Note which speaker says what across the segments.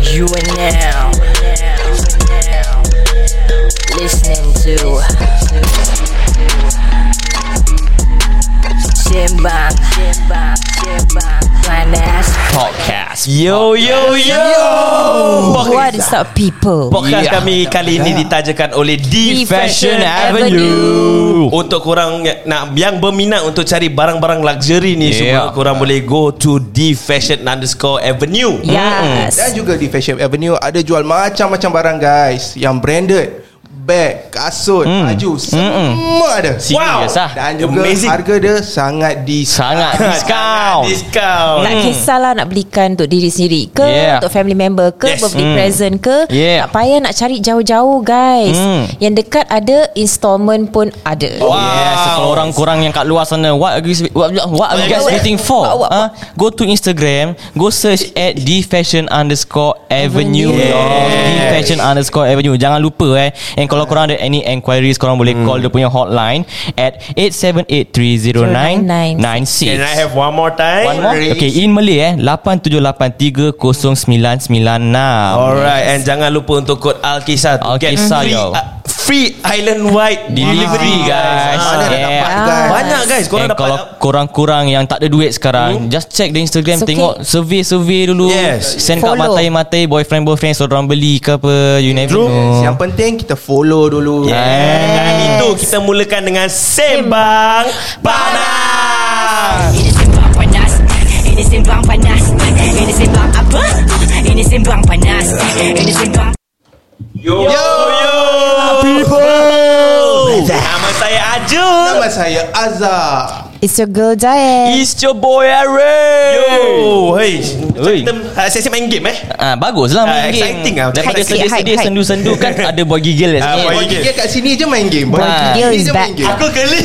Speaker 1: You are now listening to Simbang Panas
Speaker 2: Podcast
Speaker 3: Yo yo yo
Speaker 4: What is up people
Speaker 3: Podcast
Speaker 2: Yeah.
Speaker 3: kami kali ini ditajakan oleh The
Speaker 4: The
Speaker 3: Fashion
Speaker 4: Fashion
Speaker 3: Avenue Untuk korang nak yang berminat untuk cari barang-barang luxury ni
Speaker 2: Yeah.
Speaker 3: semua Korang boleh go to The Fashion underscore Avenue
Speaker 4: Ya, Yes
Speaker 5: Dan juga di Fashion Avenue ada jual macam-macam barang guys yang branded, bag, kasut, mm. baju, semua ada.
Speaker 2: Serious
Speaker 3: Wow.
Speaker 2: lah
Speaker 5: Dan
Speaker 3: Amazing.
Speaker 5: juga Amazing. harga dia sangat di
Speaker 2: Sangat discount
Speaker 3: Discount
Speaker 4: Tak kisahlah nak belikan untuk diri sendiri ke
Speaker 2: Yeah. Mm.
Speaker 4: Untuk family member ke
Speaker 3: Yes.
Speaker 4: yes. Birthday present ke
Speaker 2: Yeah. Mm.
Speaker 4: Tak payah nak cari jauh-jauh guys Yang dekat ada Installment pun ada
Speaker 2: Wow. Yes, kalau orang kurang yang kat luar sana, what are you, what, what are you guys waiting for?
Speaker 4: What- what-
Speaker 2: Huh? Go to Instagram, go search at the fashion underscore avenue.
Speaker 4: Avenue.
Speaker 2: The fashion underscore avenue. Jangan lupa eh. And kalau korang ada any enquiries, korang boleh call dia punya hotline at 87830996.
Speaker 3: Can I have one more time?
Speaker 2: One more? Okay, in Malay eh 87830996.
Speaker 3: Alright And jangan lupa untuk kod Alkisah to get
Speaker 2: Alkisah,
Speaker 3: free,
Speaker 2: yo.
Speaker 3: uh, free island wide Delivery guys
Speaker 2: Yes.
Speaker 3: Ah,
Speaker 2: Yeah.
Speaker 5: guys.
Speaker 3: Banyak guys Korang
Speaker 2: And
Speaker 3: dapat Hmm?
Speaker 2: kalau korang-kurang yang tak ada duit sekarang, just check di Instagram
Speaker 4: It's okay.
Speaker 2: tengok survey-survey dulu.
Speaker 3: Yes.
Speaker 2: Send kat
Speaker 4: Follow.
Speaker 2: matai-matai boyfriend-boyfriend so orang beli ke apa, you never
Speaker 3: True.
Speaker 2: know.
Speaker 5: Oh. Yang penting kita follow dulu.
Speaker 3: Yes. Dengan itu kita mulakan dengan Sembang Panas.
Speaker 6: Ini sembang panas Ini sembang panas Ini sembang apa? Ini sembang panas Ini sembang
Speaker 3: Yo yo, yo. people. Nama saya Ajul.
Speaker 5: Nama saya Azhar.
Speaker 4: It's your girl Jael
Speaker 2: It's your boy Aaron.
Speaker 3: Yo, hey. Macam
Speaker 2: Oi.
Speaker 3: kita uh, sesi main game eh.
Speaker 2: Ah bagus lah main
Speaker 3: Ah,
Speaker 2: game.
Speaker 3: exciting lah.
Speaker 2: Daripada
Speaker 4: Hype sikit,
Speaker 2: sedih-sedih
Speaker 4: hype, hype.
Speaker 2: sendu-sendu kan ada boy gigil
Speaker 3: Ah, boy
Speaker 5: Boy
Speaker 3: gigil.
Speaker 2: lah.
Speaker 5: Gigil kat sini je main game.
Speaker 4: Boy Gigil
Speaker 5: sini
Speaker 4: is
Speaker 5: je
Speaker 4: back.
Speaker 5: main game.
Speaker 3: Aku geli.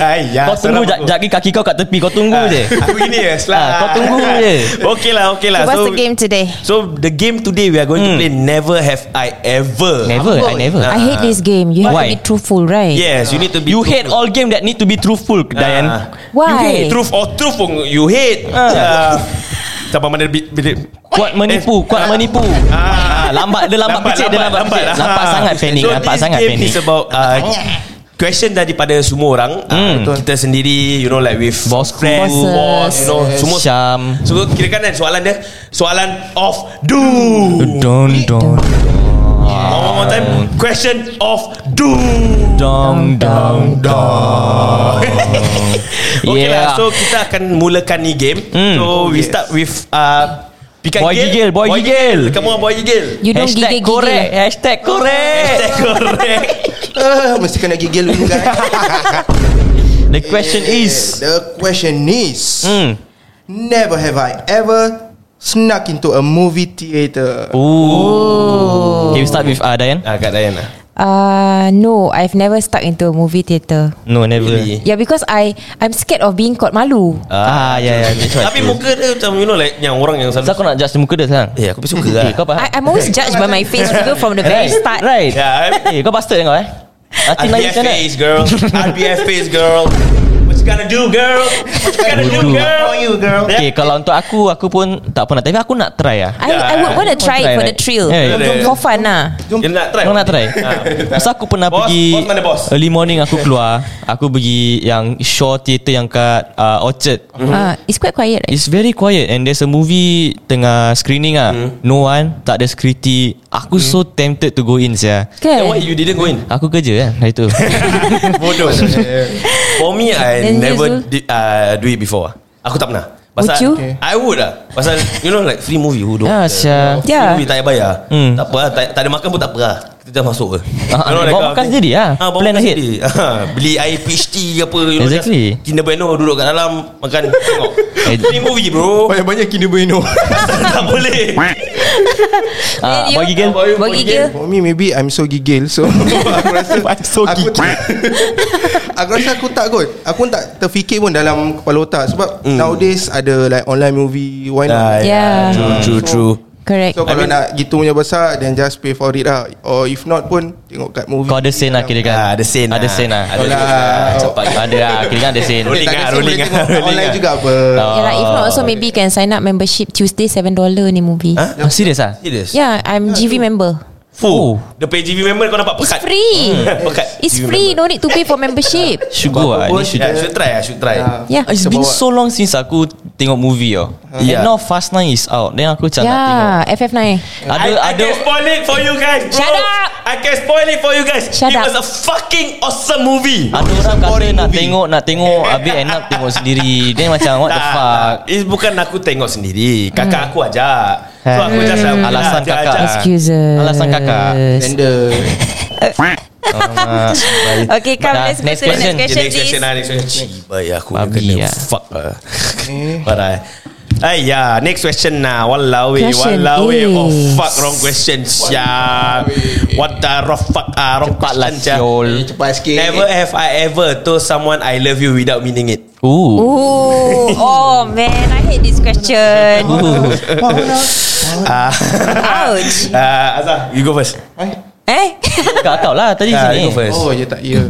Speaker 3: Ayah. ya,
Speaker 2: Kau tunggu jap jap lagi kaki kau kat tepi kau
Speaker 3: Ah.
Speaker 2: tunggu je.
Speaker 3: Aku gini ya,
Speaker 2: Ah, kau tunggu je.
Speaker 3: Okey lah, okey lah.
Speaker 4: So what's the game today?
Speaker 3: So the game today we are going to play Never Have I Ever.
Speaker 2: Hmm. Never, I never.
Speaker 4: I hate this game You have
Speaker 2: Uh, Why?
Speaker 4: to be truthful right
Speaker 3: Yes, you need to be.
Speaker 2: You hate all game that need to be truthful,
Speaker 3: Ah.
Speaker 2: Dayan.
Speaker 4: Why?
Speaker 2: You hate truth.
Speaker 3: Truth or truth pun you hate. Ah. Sampai mana bi- bilik
Speaker 2: Kuat menipu, kuat menipu. Ah, lambat dia lambat, kecil, dia lambat, kecil. Lambat, sangat Fanny,
Speaker 3: lah. So,
Speaker 2: lambat
Speaker 3: this
Speaker 2: sangat
Speaker 3: game
Speaker 2: Fanny.
Speaker 3: is about uh, Question daripada semua orang Ah,
Speaker 2: Hmm.
Speaker 3: betul. Kita sendiri You know like with
Speaker 2: Boss ku,
Speaker 3: friends,
Speaker 4: bosses.
Speaker 3: Boss You know
Speaker 2: Yes.
Speaker 3: Semua
Speaker 2: Syam.
Speaker 3: So kira kan soalan dia Soalan of Do
Speaker 2: Don don
Speaker 3: One more, more time
Speaker 2: Hmm.
Speaker 3: Question of Do
Speaker 2: dong dong dong.
Speaker 3: Okay
Speaker 2: Yeah.
Speaker 3: lah So kita akan mulakan ni game
Speaker 2: Hmm.
Speaker 3: So we start with uh, Pick up
Speaker 2: Boy gigil, boy gigil.
Speaker 3: Come on boy gigil
Speaker 4: You don't
Speaker 2: Hashtag
Speaker 4: giggle
Speaker 2: korek,
Speaker 4: giggle
Speaker 2: hashtag korek.
Speaker 3: Hashtag correct
Speaker 5: Ah, mesti kena gigil dulu guys.
Speaker 2: The question is,
Speaker 5: The question is
Speaker 2: hmm,
Speaker 5: Never have I ever Snuck into a movie theater
Speaker 2: ooh. Okay, we start with uh, Dayan.
Speaker 3: Ah, Kak Dayana
Speaker 4: uh, No I've never stuck into a movie theater
Speaker 2: No, never.
Speaker 3: Really?
Speaker 4: Yeah because I I'm scared of being caught malu
Speaker 2: Ah, yeah, yeah. that's right.
Speaker 3: Tapi muka dia macam You know like Yang orang yang
Speaker 2: Kenapa
Speaker 3: selalu
Speaker 2: kau nak judge muka dia sekarang?
Speaker 3: Eh aku suka
Speaker 2: Eh,
Speaker 3: lah
Speaker 2: kau faham?
Speaker 4: I, I'm always judged by my face Even from the very
Speaker 2: Right,
Speaker 4: start
Speaker 2: right.
Speaker 3: Yeah,
Speaker 2: Eh,
Speaker 3: I'm-
Speaker 2: kau bastard kau eh? Hati Melayu
Speaker 3: RBF
Speaker 2: macam mana?
Speaker 3: face girl RBF face girl What you gonna do girl What you gonna do
Speaker 2: Bodoh.
Speaker 3: girl
Speaker 5: How are you girl
Speaker 2: Okay, kalau untuk aku, aku pun tak pernah. Tapi aku nak try lah.
Speaker 4: I, I would want to try it for the thrill
Speaker 2: Yeah,
Speaker 3: yeah, yeah.
Speaker 4: For fun lah
Speaker 3: Jom Dia nak try
Speaker 2: Kau nak try? Masa aku pernah
Speaker 3: Bos,
Speaker 2: pergi Eh.
Speaker 3: bos Ah. mana bos?
Speaker 2: Early morning aku keluar Aku pergi yang Shaw Theatre yang kat uh, Orchard
Speaker 4: uh, It's quite quiet right?
Speaker 2: It's very quiet And there's a movie Tengah screening ah.
Speaker 3: Hmm.
Speaker 2: No one Tak ada security Aku so tempted to go in sia
Speaker 3: Then
Speaker 4: Kan?
Speaker 3: Eh, why you didn't go in
Speaker 2: Aku kerja kan Hari tu
Speaker 3: Bodoh For me I
Speaker 4: Then you,
Speaker 3: never
Speaker 4: Zul?
Speaker 3: did, uh, do it before Aku tak pernah
Speaker 4: Would you?
Speaker 3: I would lah Pasal you know like Free movie Who don't
Speaker 2: Ya sia
Speaker 3: Free
Speaker 4: Yeah.
Speaker 3: movie tak payah bayar
Speaker 2: Hmm.
Speaker 3: Tak apa lah tak, tak ada makan pun tak apa lah Kita dah masuk ke
Speaker 2: Ah, bawa makan sendiri lah.
Speaker 3: Ah,
Speaker 2: Plan ahead.
Speaker 3: Beli air peach tea ke apa you know,
Speaker 2: Exactly.
Speaker 3: just Kinder Bueno duduk kat dalam Makan tengok
Speaker 2: Eh,
Speaker 3: Free movie bro
Speaker 5: Banyak-banyak Kinder Bueno
Speaker 3: Tak boleh
Speaker 2: Ah,
Speaker 4: Then you?
Speaker 2: Bagi gel
Speaker 4: Bagi gil
Speaker 5: For me maybe I'm so gigil So aku rasa
Speaker 2: I'm so
Speaker 5: aku, aku rasa aku tak kot Aku pun tak terfikir pun dalam kepala otak Sebab nowadays ada like online movie Why not
Speaker 4: Yeah.
Speaker 3: True true true
Speaker 4: Correct.
Speaker 5: So kalau I mean, nak gitu punya besar Then just pay for it lah Or if not pun Tengok kat movie Eh,
Speaker 2: Kau ada sen lah kira
Speaker 3: Ah,
Speaker 2: kan
Speaker 3: ada sen
Speaker 2: Ada
Speaker 3: lah.
Speaker 2: sen lah
Speaker 3: Ada ah.
Speaker 5: lah.
Speaker 2: Cepat Ada lah Kira kan ada sen
Speaker 5: Boleh
Speaker 3: Rolling
Speaker 5: tak ada
Speaker 3: ah,
Speaker 5: sale, boleh
Speaker 3: rolling
Speaker 5: tengok
Speaker 3: ah, rolling
Speaker 5: Online
Speaker 3: ah.
Speaker 5: juga apa
Speaker 4: Yalah, lah, if not also maybe can sign up membership Tuesday $7 ni movie. Huh?
Speaker 2: Oh serius lah
Speaker 3: Serious
Speaker 4: Yeah, I'm GV member.
Speaker 2: Oh.
Speaker 3: ah. Fuh The PGV member kau nampak
Speaker 4: It's
Speaker 3: pekat
Speaker 4: free.
Speaker 3: Pekat
Speaker 4: It's free. No need to pay for membership.
Speaker 2: Sugar lah Ni
Speaker 3: should,
Speaker 2: sugar
Speaker 3: yeah, should try ah, should try
Speaker 5: Ah.
Speaker 4: Yeah.
Speaker 2: It's been so long since aku tengok movie tau
Speaker 3: Yeah.
Speaker 2: And now Fast 9 is out Then aku macam nak tengok
Speaker 4: Yeah, FF9.
Speaker 2: Ada
Speaker 3: I, I
Speaker 2: ada
Speaker 3: can spoil it for you guys bro.
Speaker 4: Shut up.
Speaker 3: I can spoil it for you guys
Speaker 4: Shut
Speaker 3: It
Speaker 4: up.
Speaker 3: was a fucking awesome movie
Speaker 2: ada orang kata nak tengok nak tengok habis end up tengok sendiri. Then macam what the
Speaker 3: Tak,
Speaker 2: fuck.
Speaker 3: It's bukan aku tengok sendiri
Speaker 4: Hmm.
Speaker 3: Kakak aku ajak So aku just like, okay lah,
Speaker 2: Hmm. Alasan
Speaker 3: ajak,
Speaker 2: kakak.
Speaker 3: ajak.
Speaker 4: Excuses.
Speaker 2: Alasan kakak.
Speaker 5: Tender
Speaker 2: Alamak.
Speaker 4: Okay, come,
Speaker 2: Dah,
Speaker 4: let's go
Speaker 2: next question.
Speaker 4: to the next
Speaker 3: Okay, next question
Speaker 4: question, please.
Speaker 3: lah Next question Cibai aku
Speaker 2: Babi
Speaker 3: kena
Speaker 2: lah.
Speaker 3: fuck lah Parah eh. Ay ya, next question lah. Wallawi,
Speaker 4: Question
Speaker 3: wallawi. Oh
Speaker 4: is-
Speaker 3: fuck, wrong question. Ya. What the rough fuck ah, wrong
Speaker 2: Cepat lah
Speaker 3: question. sia.
Speaker 2: siol.
Speaker 5: Cepat sikit
Speaker 3: Never have I ever told someone I love you without meaning it.
Speaker 2: Ooh.
Speaker 4: Ooh, oh man, I hate this question.
Speaker 3: Ah,
Speaker 4: Ouch.
Speaker 3: Ah, Azhar, you go first.
Speaker 5: Eh?
Speaker 4: Eh?
Speaker 2: Kat kau lah tadi
Speaker 3: Ah,
Speaker 2: sini.
Speaker 3: you go first.
Speaker 5: Oh ya tak ya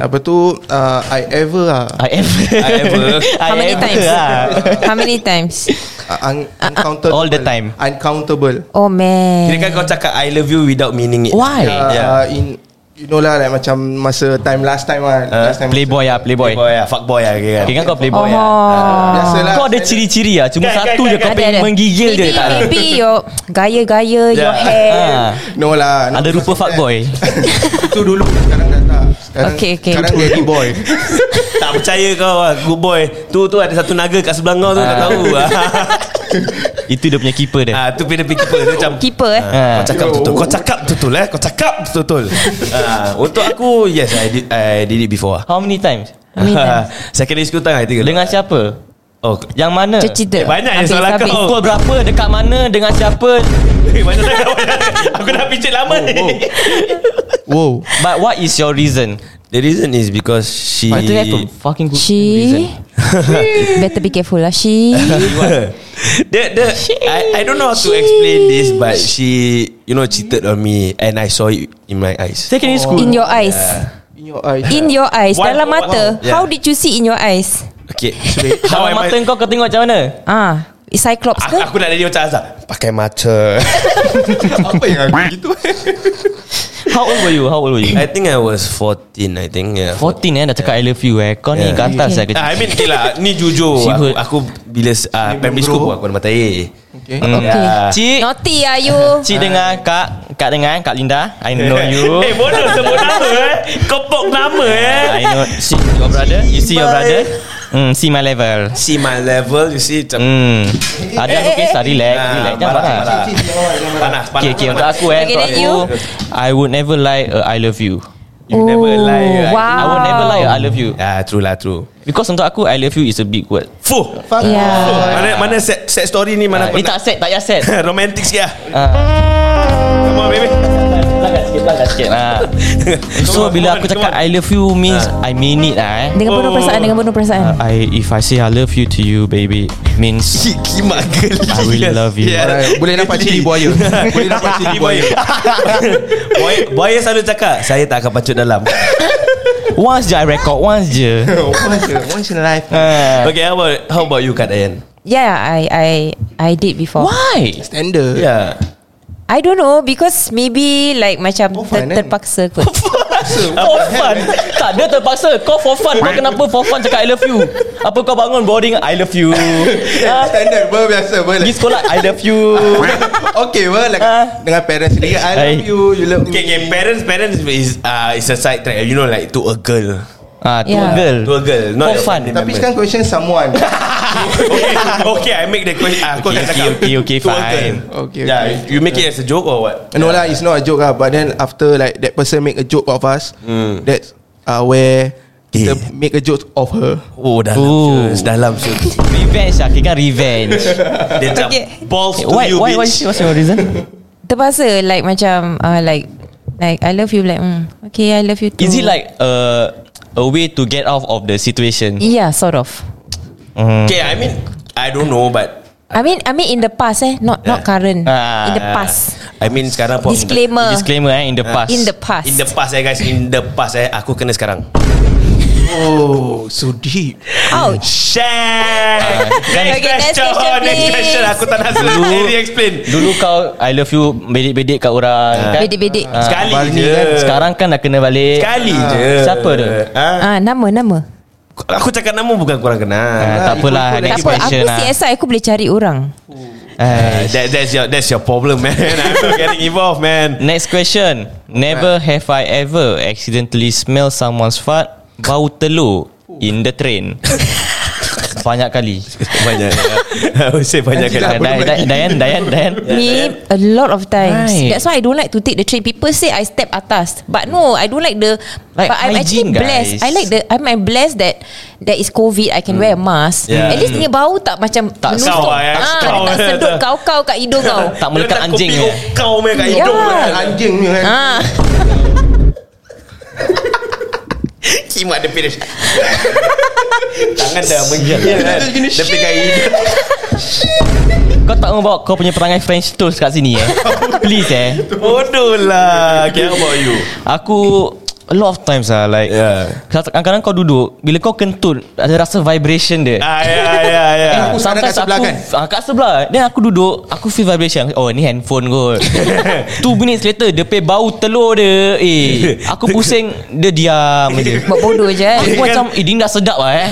Speaker 5: Apa tu uh, I ever lah
Speaker 2: I ever.
Speaker 3: I ever.
Speaker 4: How many times?
Speaker 2: lah.
Speaker 4: How many times?
Speaker 5: un- uncountable
Speaker 2: all the time.
Speaker 5: Uncountable
Speaker 4: Oh man.
Speaker 3: Kira kau cakap I love you without meaning it.
Speaker 2: Why?
Speaker 3: Yeah.
Speaker 5: uh, yeah. in, You know lah like, Macam masa time last time lah
Speaker 3: Uh,
Speaker 5: Last time
Speaker 2: Playboy lah, playboy.
Speaker 3: Boy ah, fuck boy ah kira.
Speaker 2: Okay kan kau
Speaker 4: Oh.
Speaker 2: playboy lah.
Speaker 5: Biasalah
Speaker 2: Kau ada ciri-ciri lah Cuma
Speaker 3: Kan, kan,
Speaker 2: satu
Speaker 3: kan,
Speaker 2: je kau
Speaker 3: kan.
Speaker 2: pengen menggigil
Speaker 4: maybe,
Speaker 2: je tak ada.
Speaker 4: Maybe your gaya-gaya, your
Speaker 3: Yeah.
Speaker 4: hair.
Speaker 3: Ha.
Speaker 2: Ah,
Speaker 5: No lah
Speaker 2: Ada
Speaker 5: no,
Speaker 2: rupa
Speaker 5: masa
Speaker 2: fuck boy
Speaker 5: time. Itu dulu Sekarang dah tak Sekarang,
Speaker 4: Okay, okay.
Speaker 5: sekarang daddy boy
Speaker 3: tak percaya kau ah, good boy. Tu tu ada satu naga kat sebelah
Speaker 2: Ah.
Speaker 3: kau tu tak tahu.
Speaker 2: Itu dia punya keeper dia
Speaker 3: Ah, tu pindah pergi keeper tu macam
Speaker 4: Keeper eh.
Speaker 2: Ah.
Speaker 3: Kau cakap betul Kau cakap betul eh Kau cakap betul Ah, Untuk aku Yes I did, I did it before
Speaker 2: How many times?
Speaker 4: many
Speaker 2: eh.
Speaker 4: times?
Speaker 3: Secondary school time I think
Speaker 2: Dengan siapa?
Speaker 3: Oh
Speaker 2: Yang mana?
Speaker 4: Cerita.
Speaker 3: Eh, banyak yang soalan
Speaker 4: habis.
Speaker 3: kau.
Speaker 2: Pukul berapa? Dekat mana? Dengan siapa?
Speaker 3: eh, Mana tak Aku dah picit lama ni
Speaker 5: Wow
Speaker 2: But what is your reason?
Speaker 3: The reason is because She
Speaker 2: But Oh, itu aku fucking good reason.
Speaker 4: She Better be careful lah She
Speaker 3: the, the, I, I don't know how to explain this But she You know cheated on me And I saw it in my eyes
Speaker 2: Secondary school.
Speaker 4: In your eyes
Speaker 5: In your eyes lah,
Speaker 4: In your eyes
Speaker 3: Why-
Speaker 4: Dalam mata
Speaker 3: Wow. Yeah.
Speaker 4: How did you see in your eyes
Speaker 3: Okay
Speaker 2: Dalam
Speaker 3: am I-
Speaker 2: mata kau kau tengok macam mana?
Speaker 4: Ah, Cyclops
Speaker 3: Aku,
Speaker 4: ke
Speaker 3: aku nak jadi macam Azhar Pakai mata
Speaker 5: Apa yang aku gitu
Speaker 2: How old were you? How old were you?
Speaker 3: I think I was 14 I think yeah.
Speaker 2: 14 eh dah cakap I love you eh. Kau ni
Speaker 3: Yeah.
Speaker 2: kat atas lah kecil.
Speaker 3: Ah, I mean okay lah Ni jujur aku,
Speaker 2: Sibuk.
Speaker 3: aku bila uh, Primary school pun aku ada mata air Ya.
Speaker 5: Okay
Speaker 4: Okay
Speaker 2: Hmm. Cik,
Speaker 4: Naughty are you
Speaker 2: cik dengar kak, kak dengar kak Linda. I know
Speaker 3: Eh
Speaker 2: you.
Speaker 3: bodoh sebut nama eh Kau pok nama
Speaker 2: I
Speaker 3: eh
Speaker 2: know see your brother. You see your brother? Hmm, see my level.
Speaker 3: See my level You see macam
Speaker 2: Hmm.
Speaker 3: Eh,
Speaker 2: Ada aku kisah relax,
Speaker 3: Ah,
Speaker 2: relax. Jangan
Speaker 3: marah,
Speaker 2: marah.
Speaker 3: marah. Panas panas
Speaker 2: Okay, okay, untuk aku eh,
Speaker 4: Okay,
Speaker 2: untuk
Speaker 4: then
Speaker 2: aku,
Speaker 4: you?
Speaker 2: I would never lie a I love you.
Speaker 3: You never lie right?
Speaker 4: Oh, wow.
Speaker 2: I would never lie a I love you.
Speaker 3: Ah, true lah true
Speaker 2: Because untuk aku, I love you is a big word.
Speaker 3: Fuh
Speaker 5: Fuck
Speaker 4: Yeah.
Speaker 3: Mana mana set, set story ni Mana
Speaker 2: Ah, Ni
Speaker 3: pernah
Speaker 2: tak set, tak payah set.
Speaker 3: Romantic sikit lah
Speaker 2: Ah.
Speaker 3: Come on baby
Speaker 2: Belakang sikit, belakang sikit. Ah. So bila aku cakap I love you means I
Speaker 3: Ah.
Speaker 2: mean it lah eh.
Speaker 4: Dengan penuh
Speaker 3: Oh.
Speaker 4: perasaan Dengan penuh perasaan
Speaker 2: Ah, I if I say I love you to you baby it means
Speaker 3: Kimak geli
Speaker 2: I really love you.
Speaker 5: Alright, Boleh nampak cili buaya Boleh nampak cili buaya
Speaker 3: Boy, boy selalu cakap Saya tak akan pacut dalam
Speaker 2: once je I record once je.
Speaker 5: Once a- Once in a life
Speaker 2: Ah.
Speaker 3: Okay how about How about you Kak Dayan
Speaker 4: Yeah I I I did before
Speaker 2: Why?
Speaker 5: Standard
Speaker 3: Yeah
Speaker 4: I don't know Because maybe Like macam
Speaker 5: Oh, fine,
Speaker 4: ter-
Speaker 5: eh?
Speaker 4: Terpaksa kot
Speaker 2: For fun Tak dia terpaksa Kau for fun Kau kenapa for fun cakap I love you Apa kau bangun boring I love you
Speaker 5: Yeah,
Speaker 2: Ah,
Speaker 5: Standard Ber biasa ber
Speaker 2: Pergi
Speaker 5: like,
Speaker 2: sekolah I love you
Speaker 5: Okay ber like,
Speaker 2: Ah.
Speaker 5: Dengan parents sendiri I
Speaker 2: Hai.
Speaker 5: love you You love
Speaker 3: Okay, okay.
Speaker 5: me
Speaker 3: Parents, parents is uh, is a side track. You know, like to a girl,
Speaker 2: Ah, tu
Speaker 4: Yeah.
Speaker 2: girl
Speaker 3: to a girl,
Speaker 2: For
Speaker 3: not your
Speaker 2: fun.
Speaker 3: family
Speaker 5: Tapi
Speaker 3: member.
Speaker 5: sekarang question someone
Speaker 3: okay, okay, I make the question. Uh,
Speaker 2: Okay,
Speaker 3: okay,
Speaker 2: okay, okay, okay, fine.
Speaker 5: Okay,
Speaker 3: yeah,
Speaker 5: okay.
Speaker 3: you make it as a joke or what?
Speaker 5: No lah It's not a joke lah But then after like That person make a joke of us That's uh, Where Kita
Speaker 3: Okay.
Speaker 5: make a joke of her
Speaker 3: Oh, dalam
Speaker 2: Ooh.
Speaker 3: shoes, dalam shoes.
Speaker 2: Revenge lah Kira revenge
Speaker 3: Dia macam
Speaker 4: Okay.
Speaker 3: balls to
Speaker 2: Why,
Speaker 3: you,
Speaker 2: why, why,
Speaker 3: bitch.
Speaker 2: what's your reason?
Speaker 4: Terpaksa Like macam uh, Like Like I love you Like mm, Okay I love you too
Speaker 2: Is it like uh, a way to
Speaker 4: Ya.
Speaker 2: get out of the situation?
Speaker 4: Yeah sort of
Speaker 3: Okay, I mean, I don't know, but
Speaker 4: I mean I mean in the past eh not not current
Speaker 2: Ah.
Speaker 4: in the past
Speaker 3: I mean sekarang pun
Speaker 4: disclaimer
Speaker 2: Disclaimer eh In the past
Speaker 4: in the past
Speaker 3: In the past eh guys In the past eh Aku kena sekarang
Speaker 5: Oh, so deep.
Speaker 4: ouch
Speaker 3: Share
Speaker 4: Ah, Okay, next question,
Speaker 3: Next
Speaker 4: please.
Speaker 3: question Aku tak nak
Speaker 2: Dulu-
Speaker 3: sendiri explain
Speaker 2: Dulu kau I love you Bedik-bedik kat orang kan?
Speaker 4: Bedik-bedik.
Speaker 2: Ah,
Speaker 3: Sekali
Speaker 5: Bali
Speaker 3: je
Speaker 5: kan,
Speaker 2: Sekarang kan dah kena balik
Speaker 3: Sekali je
Speaker 2: Ah, Siapa tu?
Speaker 3: ha?
Speaker 4: ah nama nama
Speaker 3: Aku cakap nama bukan korang
Speaker 2: Ah,
Speaker 3: kenal
Speaker 2: tak apalah
Speaker 5: ikut-ikut
Speaker 2: Next
Speaker 4: tak apa Lah, aku
Speaker 2: question lah
Speaker 4: CSI aku boleh cari orang
Speaker 2: Ah,
Speaker 3: Uh, that, that's your that's your problem man I'm not getting involved man
Speaker 2: Next question Never have I ever Accidentally smell someone's fart Bau telur In the train Banyak kali
Speaker 3: banyak I would say banyak
Speaker 2: Ah,
Speaker 3: kali
Speaker 2: Day- Day- Dayan Dayan Dayan
Speaker 4: Me a lot of times
Speaker 2: Right.
Speaker 4: That's why I don't like to take the train People say I step atas But no I don't like the
Speaker 2: Like
Speaker 4: But I'm
Speaker 2: hygiene,
Speaker 4: actually blessed
Speaker 2: guys.
Speaker 4: I like the I'm I'm blessed that There is COVID I can wear a mask
Speaker 3: Hmm. Yeah.
Speaker 4: At least dia bau tak macam
Speaker 2: Tak
Speaker 4: menusuk.
Speaker 3: saw, eh.
Speaker 4: Ah, dia
Speaker 3: Saw,
Speaker 4: Tak
Speaker 3: eh.
Speaker 4: sedut kau-kau kat hidung kau
Speaker 2: Tak melekat anjing
Speaker 3: Kopi
Speaker 2: eh.
Speaker 3: kau punya kat
Speaker 4: Ya.
Speaker 3: hidung lah.
Speaker 5: Anjing ni kan.
Speaker 4: Ah,
Speaker 3: Kimak dia finish Tangan dah menggigil kan Dia pegang hidung
Speaker 2: Kau tak mau bawa kau punya perangai French toast kat sini eh Please eh
Speaker 3: Bodoh lah Okay how about you
Speaker 2: Aku A lot of times lah Like
Speaker 3: Yeah.
Speaker 2: Kadang-kadang kau duduk Bila kau kentut Ada rasa vibration dia
Speaker 3: Ah ya ya ya
Speaker 2: Eh,
Speaker 5: Aku sekarang kat sebelah kan?
Speaker 2: ah, Kat sebelah Then aku duduk Aku feel vibration Oh ni handphone kot Two minutes later Dia pay bau telur dia Eh Aku pusing Dia diam je
Speaker 4: Buat bodoh je eh.
Speaker 2: Aku macam Eh dia dah sedap lah eh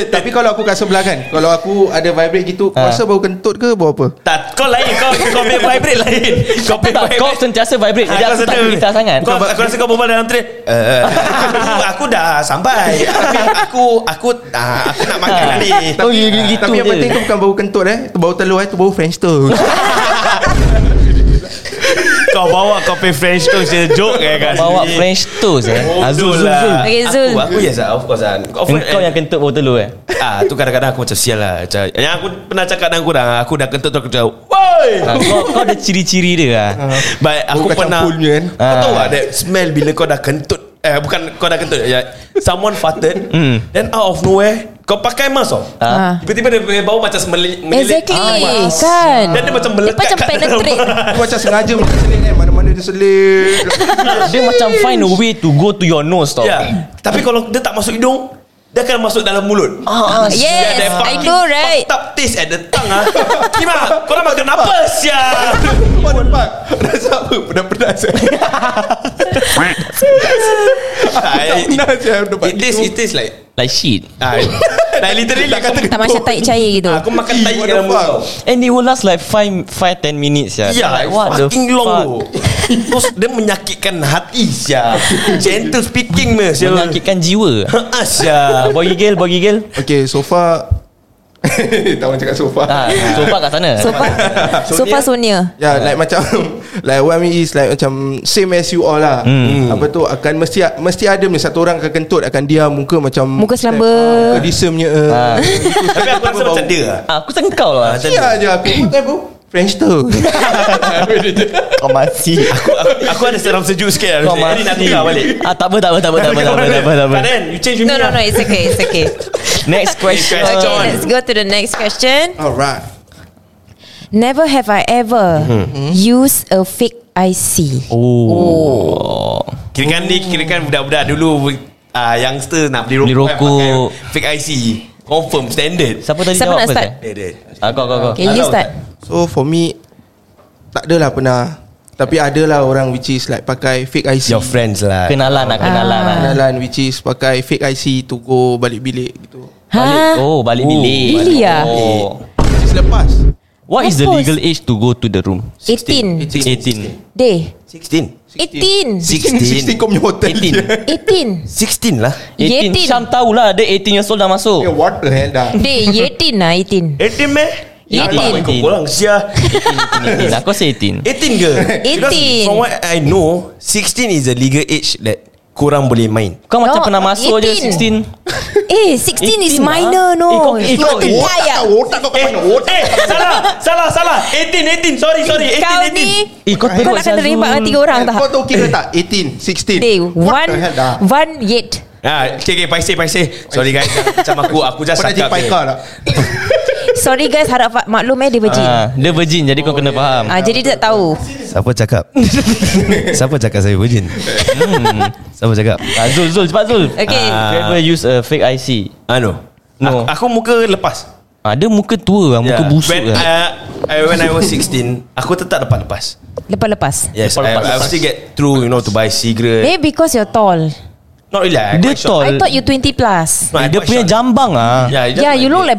Speaker 5: Eh, Tapi kalau aku kat sebelah kan Kalau aku ada vibrate gitu Kau
Speaker 2: Ah.
Speaker 5: rasa bau kentut ke bau apa?
Speaker 3: tak, kau lain kau kau punya vibrate lain. Kau
Speaker 2: Tapi
Speaker 3: punya
Speaker 2: tak
Speaker 3: vibrate.
Speaker 2: Kau sentiasa vibrate Jadi
Speaker 3: Ah,
Speaker 2: aku tak
Speaker 3: sedar.
Speaker 2: gelisah sangat
Speaker 3: Kau, aku rasa kau berbual dalam train. Eh, aku dah sampai. Tapi aku aku ah, aku nak makan lah ni.
Speaker 2: Oh, you- you gitu
Speaker 5: Tapi yang
Speaker 2: je.
Speaker 5: penting tu bukan bau kentut eh Tu bau telur eh Tu bau french toast
Speaker 3: Kau bawa kau punya French toast je joke eh kat
Speaker 2: Bawa
Speaker 3: sini.
Speaker 2: French toast eh
Speaker 3: Oh,
Speaker 2: Azul Zul
Speaker 3: Zul
Speaker 2: Zul
Speaker 3: lah.
Speaker 4: Okay, Zul.
Speaker 3: Aku, aku yes lah, of course lah. Kau,
Speaker 2: Engkau yang kentut bau telur eh
Speaker 3: Ah, tu kadang-kadang aku macam sial lah. Macam, yang aku pernah cakap dengan korang, aku dah kentut tu aku macam, woi!
Speaker 2: Ah, Kau kau ada ciri-ciri dia lah
Speaker 3: Ah. But aku
Speaker 5: kacang
Speaker 3: pernah,
Speaker 5: punya kan?
Speaker 3: kau tahu lah, that smell bila kau dah kentut, eh bukan kau dah kentut, ya, someone farted, then out of nowhere, kau pakai mask tau.
Speaker 4: Ah.
Speaker 3: Tiba-tiba dia punya bau macam meli- melilit.
Speaker 4: Exactly
Speaker 3: Ah,
Speaker 4: Kan
Speaker 3: Dan dia macam
Speaker 4: Dia
Speaker 3: melekat
Speaker 4: macam
Speaker 3: kat dalam.
Speaker 4: penetrate
Speaker 5: Aku macam sengaja macam selit kan Mana-mana dia selit
Speaker 2: Dia macam find a way to go to your nose tau
Speaker 3: Ya. Tapi kalau dia tak masuk hidung, dia akan masuk dalam mulut.
Speaker 2: Ah, ah,
Speaker 4: Yes
Speaker 3: That
Speaker 4: I
Speaker 3: fucking
Speaker 4: know right
Speaker 3: Fucked up taste at the tongue ah. Kima, korang makan apa sial?
Speaker 5: What the fuck Rasa apa? Pedas-pedas
Speaker 3: Ah,
Speaker 5: eh?
Speaker 3: Tak, it-
Speaker 5: Pedas eh
Speaker 3: It tastes it tastes like
Speaker 2: Like shit
Speaker 3: ah, Like literally like kata Ah,
Speaker 4: Tak macam taik cair gitu
Speaker 3: Aku makan tai
Speaker 5: What the
Speaker 3: dalam mulut
Speaker 5: fuck?
Speaker 3: kau.
Speaker 2: And it will last like 5 5 10 minutes ya.
Speaker 3: Ya
Speaker 2: like, what the
Speaker 3: Fucking long
Speaker 2: fuck?
Speaker 3: tu Terus dia menyakitkan hati Syah Gentle speaking me Syah
Speaker 2: Menyakitkan jiwa.
Speaker 3: Ah, Syah
Speaker 2: Ah, boy gigil, boy gigil.
Speaker 5: Okay so far Tak orang cakap so far
Speaker 2: Ah, sofa kat sana.
Speaker 4: Sofa Sofa Sonia
Speaker 5: Ya, yeah, like macam like what I mean is like macam same as you all lah. Hmm. Apa tu akan mesti mesti ada punya satu orang akan kentut akan diam muka macam
Speaker 4: Muka selamba.
Speaker 5: Muka disemnya. Ha.
Speaker 3: Tapi aku rasa macam dia lah.
Speaker 2: Ah, aku sengkau lah.
Speaker 5: Ya je aku. Betul aku. French toast.
Speaker 2: Kau mati.
Speaker 3: Aku, aku, aku ada seram sejuk sikit ah. "Eh,
Speaker 2: Kau
Speaker 3: Kau mati Ini nak
Speaker 2: mati.
Speaker 3: tukar lah balik
Speaker 2: Ah, tak apa, tak apa, tak apa, tak apa, tak apa, tak apa, tak apa.
Speaker 3: Tak kan You change with
Speaker 4: No
Speaker 3: me
Speaker 4: no no
Speaker 3: lah.
Speaker 4: It's okay It's okay
Speaker 2: Next question.
Speaker 3: Next
Speaker 4: Okay
Speaker 3: question.
Speaker 4: Uh, let's go to the next question
Speaker 5: Alright.
Speaker 4: Never have I ever
Speaker 2: Mm-hmm.
Speaker 4: Use a fake IC
Speaker 2: Oh.
Speaker 3: Kirakan ni Kirakan budak-budak dulu ah, Youngster nak beli rokok
Speaker 2: Beli
Speaker 3: kan, pakai
Speaker 2: rokok.
Speaker 3: Fake IC Confirm standard
Speaker 2: Siapa tadi
Speaker 4: Siapa
Speaker 2: jawab
Speaker 4: nak
Speaker 2: first,
Speaker 4: start?
Speaker 2: eh?
Speaker 3: Dia dia
Speaker 2: Ah, kau, kau, kau.
Speaker 4: Okay you start
Speaker 5: So for me tak adalah pernah tapi adalah orang which is like pakai fake IC.
Speaker 3: Your friends lah
Speaker 2: Kenalan lah, kenalan lah.
Speaker 4: Ah.
Speaker 5: Kenalan which is pakai fake IC to go balik bilik gitu.
Speaker 2: Balik.
Speaker 4: Ha
Speaker 2: Oh, balik bilik.
Speaker 4: Really ah?
Speaker 2: Oh.
Speaker 5: Which is lepas.
Speaker 2: What is the
Speaker 4: Apa?
Speaker 2: legal age to go to the room?
Speaker 4: 18
Speaker 2: 18.
Speaker 4: Day
Speaker 3: 16
Speaker 4: 18
Speaker 5: 16 kau punya hotel
Speaker 3: 18 16
Speaker 4: 18
Speaker 3: lah
Speaker 2: 18
Speaker 4: Yetin.
Speaker 2: Syam tahulah Dia 18 years old dah masuk
Speaker 3: Ya,
Speaker 5: Yeah, what the hell dah
Speaker 4: Day 18 lah 18
Speaker 3: 18 meh
Speaker 2: Eighteen.
Speaker 4: 18
Speaker 3: Kau korang siah
Speaker 2: 18 Aku rasa 18
Speaker 3: 18 ke?
Speaker 4: 18.
Speaker 3: Because From what I know 16 is the legal age That korang boleh main
Speaker 2: Kau macam
Speaker 4: No,
Speaker 2: pernah masuk
Speaker 4: 18.
Speaker 2: je 16
Speaker 4: Eh 16
Speaker 2: 18 lah.
Speaker 4: is minor
Speaker 2: Eh,
Speaker 4: no
Speaker 2: kau- eh,
Speaker 4: It's
Speaker 2: kau-
Speaker 4: not a
Speaker 2: eh,
Speaker 4: die ah.
Speaker 5: Otak kau
Speaker 3: Eh, eh salah Salah salah 18 18 Sorry sorry
Speaker 4: Kau ni
Speaker 3: 18 18
Speaker 2: Eh, kau Eh,
Speaker 4: Kau
Speaker 2: teruk,
Speaker 4: nak kena
Speaker 2: Syazul.
Speaker 4: rembat dengan tiga orang tak
Speaker 5: Kau tahu kira tak 18 16
Speaker 4: Day
Speaker 5: What
Speaker 4: One
Speaker 5: the hell dah
Speaker 4: One yet
Speaker 3: Ah, okay, okay, paiseh, paiseh. Sorry guys, macam aku, aku just
Speaker 5: Kau
Speaker 3: cakap.
Speaker 5: dah jumpa
Speaker 3: je.
Speaker 5: Ika tak
Speaker 4: Sorry guys harap fa- maklum eh dia virgin.
Speaker 2: Ah, dia virgin jadi kau
Speaker 3: Oh,
Speaker 2: kena faham.
Speaker 4: Ah, jadi dia tak tahu.
Speaker 7: Siapa cakap? Siapa cakap saya virgin? Siapa cakap?
Speaker 2: Ah, Zul, Zul, cepat Zul.
Speaker 4: Okay.
Speaker 2: Ah. You ever use a fake IC?
Speaker 3: Ah no.
Speaker 2: No.
Speaker 3: Aku, aku muka lepas.
Speaker 2: Ah, dia muka tua lah, muka
Speaker 3: Yeah.
Speaker 2: busuk
Speaker 3: when,
Speaker 2: lah.
Speaker 3: uh, I, when I was 16 Aku tetap dapat lepas
Speaker 4: Lepas-lepas.
Speaker 3: Yes
Speaker 2: Lepas-lepas,
Speaker 3: I, I
Speaker 2: lepas.
Speaker 3: still get through You know to buy cigarette
Speaker 4: Eh because you're tall.
Speaker 3: Not really I
Speaker 2: Dia
Speaker 3: quite short.
Speaker 2: tall.
Speaker 4: I thought you 20 plus.
Speaker 3: No, I
Speaker 2: Dia
Speaker 3: quite
Speaker 2: punya
Speaker 3: short.
Speaker 2: jambang ah.
Speaker 3: Yeah, just
Speaker 4: Yeah, Ya, you look like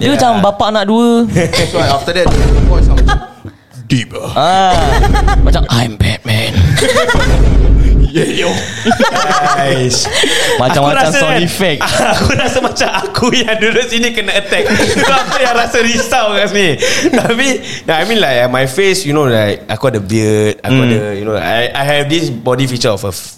Speaker 2: Dia
Speaker 3: Yeah.
Speaker 2: macam bapak nak dua.
Speaker 5: That's why after that the voice sound deep. ah.
Speaker 2: ah. Macam I'm Batman.
Speaker 3: Guys
Speaker 2: Macam-macam
Speaker 3: rasa
Speaker 2: sound
Speaker 3: kan,
Speaker 2: effect.
Speaker 3: Aku rasa macam Aku yang duduk sini Kena attack So aku yang rasa risau kat sini Tapi nah, I mean like uh, My face You know like Aku ada beard Aku
Speaker 2: Hmm.
Speaker 3: ada You know I, I have this body feature Of a f-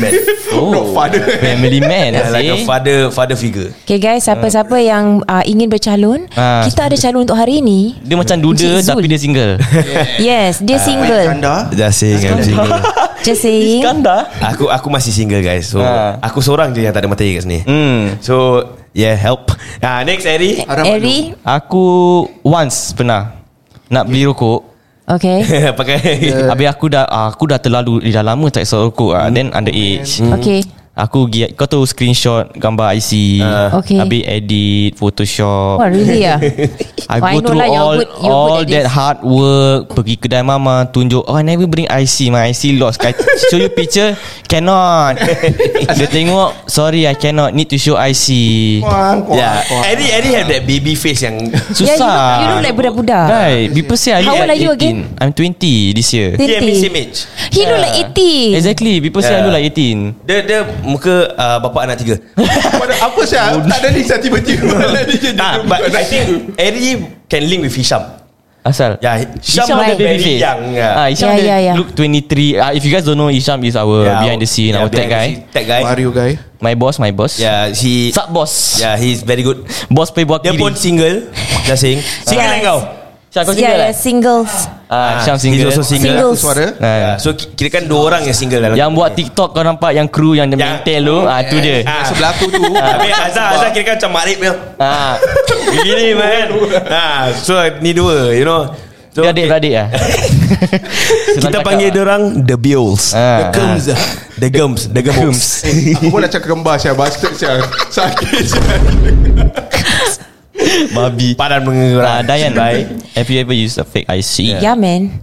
Speaker 3: man
Speaker 2: Oh.
Speaker 3: Oh.
Speaker 5: Not father.
Speaker 2: Family man
Speaker 3: yeah, Like a
Speaker 2: eh.
Speaker 3: father Father figure
Speaker 4: Okay guys, siapa-siapa yang uh, ingin bercalon,
Speaker 2: Ah.
Speaker 4: kita ada calon untuk hari ini.
Speaker 2: Dia macam duda
Speaker 4: Encik Zul.
Speaker 2: Tapi dia single
Speaker 4: Yes, dia single.
Speaker 5: Kanda.
Speaker 7: Dah saying I'm single.
Speaker 4: Just saying.
Speaker 2: Kanda
Speaker 3: Aku aku masih single guys So
Speaker 2: Ah.
Speaker 3: Aku seorang je Yang tak ada mata air kat sini
Speaker 2: Hmm.
Speaker 3: So Yeah help ah, Next Eri
Speaker 4: Eri,
Speaker 2: Aku Once pernah Nak beli rokok
Speaker 4: okay.
Speaker 3: Pakai
Speaker 2: Habis aku dah ah, Aku dah terlalu Dah lama tak esok rokok ah. Then underage
Speaker 4: Okay.
Speaker 2: Aku pergi Kau tahu screenshot Gambar IC
Speaker 3: Ah.
Speaker 4: Okay.
Speaker 2: Habis edit Photoshop
Speaker 4: Wah, really ah?
Speaker 2: I
Speaker 4: Why
Speaker 2: go
Speaker 4: no
Speaker 2: through
Speaker 4: lah, you're
Speaker 2: all
Speaker 4: good- you're
Speaker 2: all
Speaker 4: good at
Speaker 2: that
Speaker 4: this.
Speaker 2: hard work pergi kedai mama tunjuk oh I never bring IC my IC lost I show you picture cannot dia tengok sorry I cannot need to show IC
Speaker 5: Kuang, kuang,
Speaker 3: Yeah
Speaker 5: kuang.
Speaker 3: Eri Eri have that baby face yang
Speaker 2: susah
Speaker 4: Yeah, you look, you look like
Speaker 3: Ah,
Speaker 4: budak-budak.
Speaker 2: Right, people say I
Speaker 4: How
Speaker 2: look
Speaker 4: old
Speaker 2: like
Speaker 4: are you
Speaker 2: 18. I'm 20 this year.
Speaker 4: Twenty.
Speaker 3: Dia ambil same age
Speaker 4: He look like E 80.
Speaker 2: Exactly, people say I
Speaker 3: Ah. Yeah.
Speaker 2: look like 18.
Speaker 3: Dia dia muka uh, bapa anak tiga.
Speaker 5: Pada apa saya tak ada lisan tiba-tiba.
Speaker 3: ah, but I think Eri can link with Hisham.
Speaker 2: Asal?
Speaker 3: Yeah, Hisham,
Speaker 2: Hisham
Speaker 3: ada
Speaker 2: ada
Speaker 3: very
Speaker 2: baby face.
Speaker 3: young. uh,
Speaker 2: Ah,
Speaker 3: Yeah.
Speaker 2: Hisham
Speaker 4: Yeah,
Speaker 2: ada
Speaker 4: yeah, yeah.
Speaker 2: look 23. Ah, if you guys don't know, Hisham is our behind the scene, our tech
Speaker 3: behind the
Speaker 2: guy.
Speaker 3: scene, Tech guy.
Speaker 5: Mario guy.
Speaker 2: My boss, my boss.
Speaker 3: Yeah, he
Speaker 2: Sub boss.
Speaker 3: Yeah, he's very good.
Speaker 2: Boss pay buat
Speaker 3: Dia
Speaker 2: kiri.
Speaker 3: pun single. Just saying.
Speaker 2: Ah.
Speaker 3: Single lah
Speaker 4: Yes.
Speaker 3: kau.
Speaker 2: Syah kau single
Speaker 4: Yeah, yeah,
Speaker 2: lah
Speaker 4: singles.
Speaker 2: Ah, Syam
Speaker 3: he's
Speaker 2: single
Speaker 3: also single.
Speaker 4: Singles.
Speaker 5: Suara.
Speaker 2: Ah.
Speaker 3: Yeah, so ki- kira kan dua orang yang single dalam.
Speaker 2: Yang buat TikTok kau nampak Yang kru yang dia
Speaker 3: Yang- Eh,
Speaker 2: mentel tu ah, Tu dia
Speaker 5: Ah, Sebelah aku tu.
Speaker 3: Habis Azhar Azhar kira kan macam Marib dia.
Speaker 2: ah,
Speaker 3: Begini man ah, So ni dua You know so,
Speaker 2: Dia adik-beradik lah
Speaker 3: Kita panggil dia orang The Beals
Speaker 2: Ah.
Speaker 3: The Gums The Gums The Gums
Speaker 5: Aku pun nak cakap kembar saya bastard saya. Sakit saya.
Speaker 3: Babi Padan
Speaker 2: uh,
Speaker 3: menggerak
Speaker 2: Dayan Have you ever used a fake IC
Speaker 4: Yeah, man.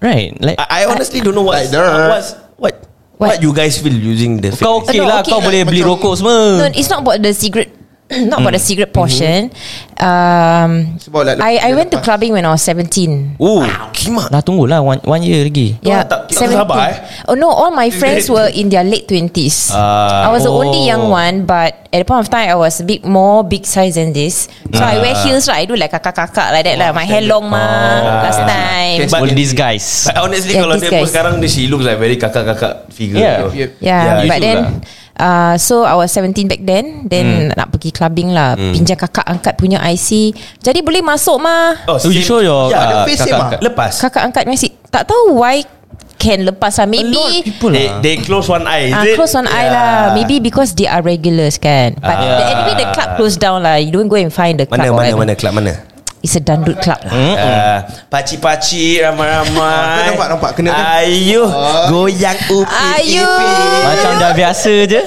Speaker 2: Right Like
Speaker 3: I, I honestly don't know what
Speaker 5: Like that.
Speaker 3: what's, what
Speaker 4: What?
Speaker 3: What you guys feel using the fake
Speaker 2: Kau okay
Speaker 4: No,
Speaker 2: lah
Speaker 4: okay.
Speaker 2: Kau boleh beli
Speaker 5: Macam-
Speaker 2: rokok
Speaker 4: No,
Speaker 2: semua
Speaker 4: it's not about the cigarette. not about the cigarette portion. Um,
Speaker 5: Sebab like-
Speaker 4: I I went to
Speaker 5: lepas.
Speaker 4: clubbing when I was 17.
Speaker 3: Oh Kimak
Speaker 2: Dah tunggulah one, one year lagi
Speaker 4: Yeah,
Speaker 3: tak- tak sabar, eh?
Speaker 4: Oh no, all my friends were in their late twenties.
Speaker 3: Ah.
Speaker 4: I was the
Speaker 2: Oh.
Speaker 4: only young one, but at the point of time, I was a bit more big size than this. So
Speaker 3: Ah.
Speaker 4: I wear heels, right? I do like kakak-kakak like that,
Speaker 3: Oh,
Speaker 4: lah. My hair long, ma. Last time,
Speaker 5: But-
Speaker 2: All these guys
Speaker 3: But honestly
Speaker 4: Yeah,
Speaker 3: Kalau
Speaker 4: this
Speaker 3: dia pun
Speaker 4: guys.
Speaker 3: sekarang dia, She looks like very kakak-kakak figure
Speaker 2: Yeah.
Speaker 3: you know.
Speaker 5: Yep.
Speaker 4: yeah.
Speaker 3: Yeah,
Speaker 4: but
Speaker 3: you
Speaker 4: then,
Speaker 3: lah. Hmm.
Speaker 4: uh, so I was 17 back then. Then nak pergi clubbing lah. Pinjam kakak angkat punya IC. Jadi boleh masuk, ma.
Speaker 3: Oh,
Speaker 2: So you
Speaker 3: same-
Speaker 2: show your
Speaker 3: yeah,
Speaker 5: ada
Speaker 2: ah,
Speaker 5: face same
Speaker 2: kakak-
Speaker 5: ah.
Speaker 3: Lepas
Speaker 4: Kakak angkat masih tak tahu why can lepas lah. Maybe
Speaker 2: People
Speaker 3: they,
Speaker 2: lah
Speaker 3: they close one eye is
Speaker 4: Ah,
Speaker 3: it? Ya.
Speaker 4: close one eye
Speaker 3: Yeah.
Speaker 4: lah. Maybe because they are regulars kan. But
Speaker 3: Ah.
Speaker 4: the, anyway the club closed down lah. You don't go and find the club.
Speaker 3: Mana
Speaker 4: or
Speaker 3: mana
Speaker 4: whatever.
Speaker 3: mana Club mana
Speaker 4: It's a dandut club lah.
Speaker 3: Ah, Paci-paci Ramai-ramai
Speaker 5: Kau nampak, nampak, kena kan?
Speaker 3: Ayuh Goyang upi
Speaker 4: Ayuh.
Speaker 3: ipi.
Speaker 2: Macam dah biasa je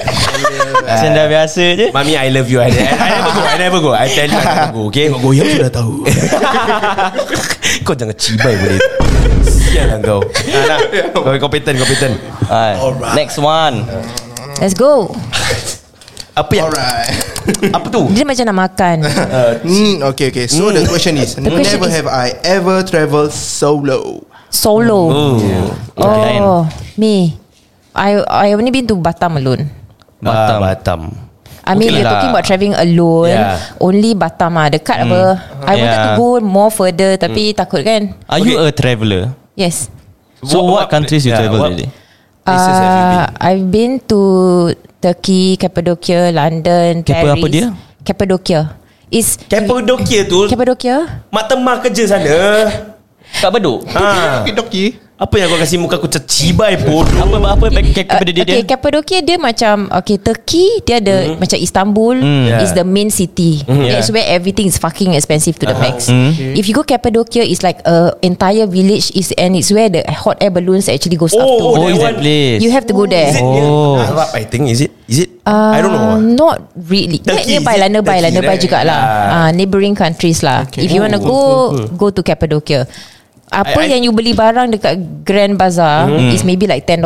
Speaker 2: Macam dah biasa je
Speaker 3: Mami I love you I, I never go I never go I tell you I never go Okay Kau goyang sudah tahu Kau jangan cibai boleh Sial lah kau ah, nah. Kau kompeten kompeten
Speaker 2: Ah, Next one
Speaker 4: Let's go.
Speaker 3: Apa yang
Speaker 5: Alright.
Speaker 3: Apa tu
Speaker 4: Dia macam nak makan.
Speaker 5: Mm, okay, okay. So the question is,
Speaker 4: Hmm. question
Speaker 5: never
Speaker 4: is-
Speaker 5: have I ever traveled solo.
Speaker 4: Solo.
Speaker 3: Oh
Speaker 4: Oh,
Speaker 2: Okay.
Speaker 4: me. I I only been to Batam alone.
Speaker 3: Batam
Speaker 2: Batam.
Speaker 3: Ah, Batam
Speaker 4: I mean,
Speaker 2: Okay
Speaker 4: you're
Speaker 2: lah.
Speaker 4: talking about travelling alone.
Speaker 3: Yeah. Hmm.
Speaker 4: Only Batam ah. Dekat apa. I wanted to
Speaker 2: Yeah.
Speaker 4: go more further tapi takut kan.
Speaker 2: Are you a traveller
Speaker 4: Yes.
Speaker 2: So what, countries you
Speaker 3: yeah,
Speaker 2: travel
Speaker 3: what
Speaker 2: already?
Speaker 3: Places have you
Speaker 4: Uh,
Speaker 3: been
Speaker 4: I've been to Turkey, Cappadocia, London,
Speaker 2: Cappa
Speaker 4: Paris.
Speaker 2: apa dia?
Speaker 4: Cappadocia. Is
Speaker 3: Cappadocia tu
Speaker 4: Cappadocia?
Speaker 3: Mak temah kerja sana
Speaker 2: Kat Bedok
Speaker 3: ha.
Speaker 5: Okey, doki.
Speaker 3: Apa yang kau kasi muka aku tercibai bodoh
Speaker 2: Apa apa pakai kepada dia
Speaker 4: Uh, okay,
Speaker 2: dia?
Speaker 4: Cappadocia dia macam okay Turkey dia ada
Speaker 3: Mm-hmm.
Speaker 4: mm. macam Istanbul
Speaker 2: Mm.
Speaker 4: mm. is the main city. Mm,
Speaker 2: yeah.
Speaker 4: yeah. That's where everything is fucking expensive to the
Speaker 3: Uh-huh.
Speaker 4: max.
Speaker 3: Mm-hmm.
Speaker 4: Mm. If you go Cappadocia, it's like a entire village is and it's where the hot air balloons actually goes up to.
Speaker 3: Oh,
Speaker 2: Oh, is
Speaker 3: that
Speaker 2: that
Speaker 3: one.
Speaker 2: place?
Speaker 4: You have to go there.
Speaker 3: Is it
Speaker 2: Oh.
Speaker 3: oh. Arab I think Is it Is it I don't know
Speaker 4: Um, Not really
Speaker 3: Turkey,
Speaker 4: Turkey, Nearby
Speaker 3: is it?
Speaker 4: lah Nearby lah
Speaker 3: Turkey,
Speaker 4: Nearby
Speaker 3: right?
Speaker 4: juga lah
Speaker 3: Yeah.
Speaker 4: uh, Neighbouring countries lah okay. If you want to go Go to Cappadocia apa
Speaker 3: I- Mm-hmm. I-
Speaker 4: yang you beli barang dekat Grand Bazaar is maybe like $10.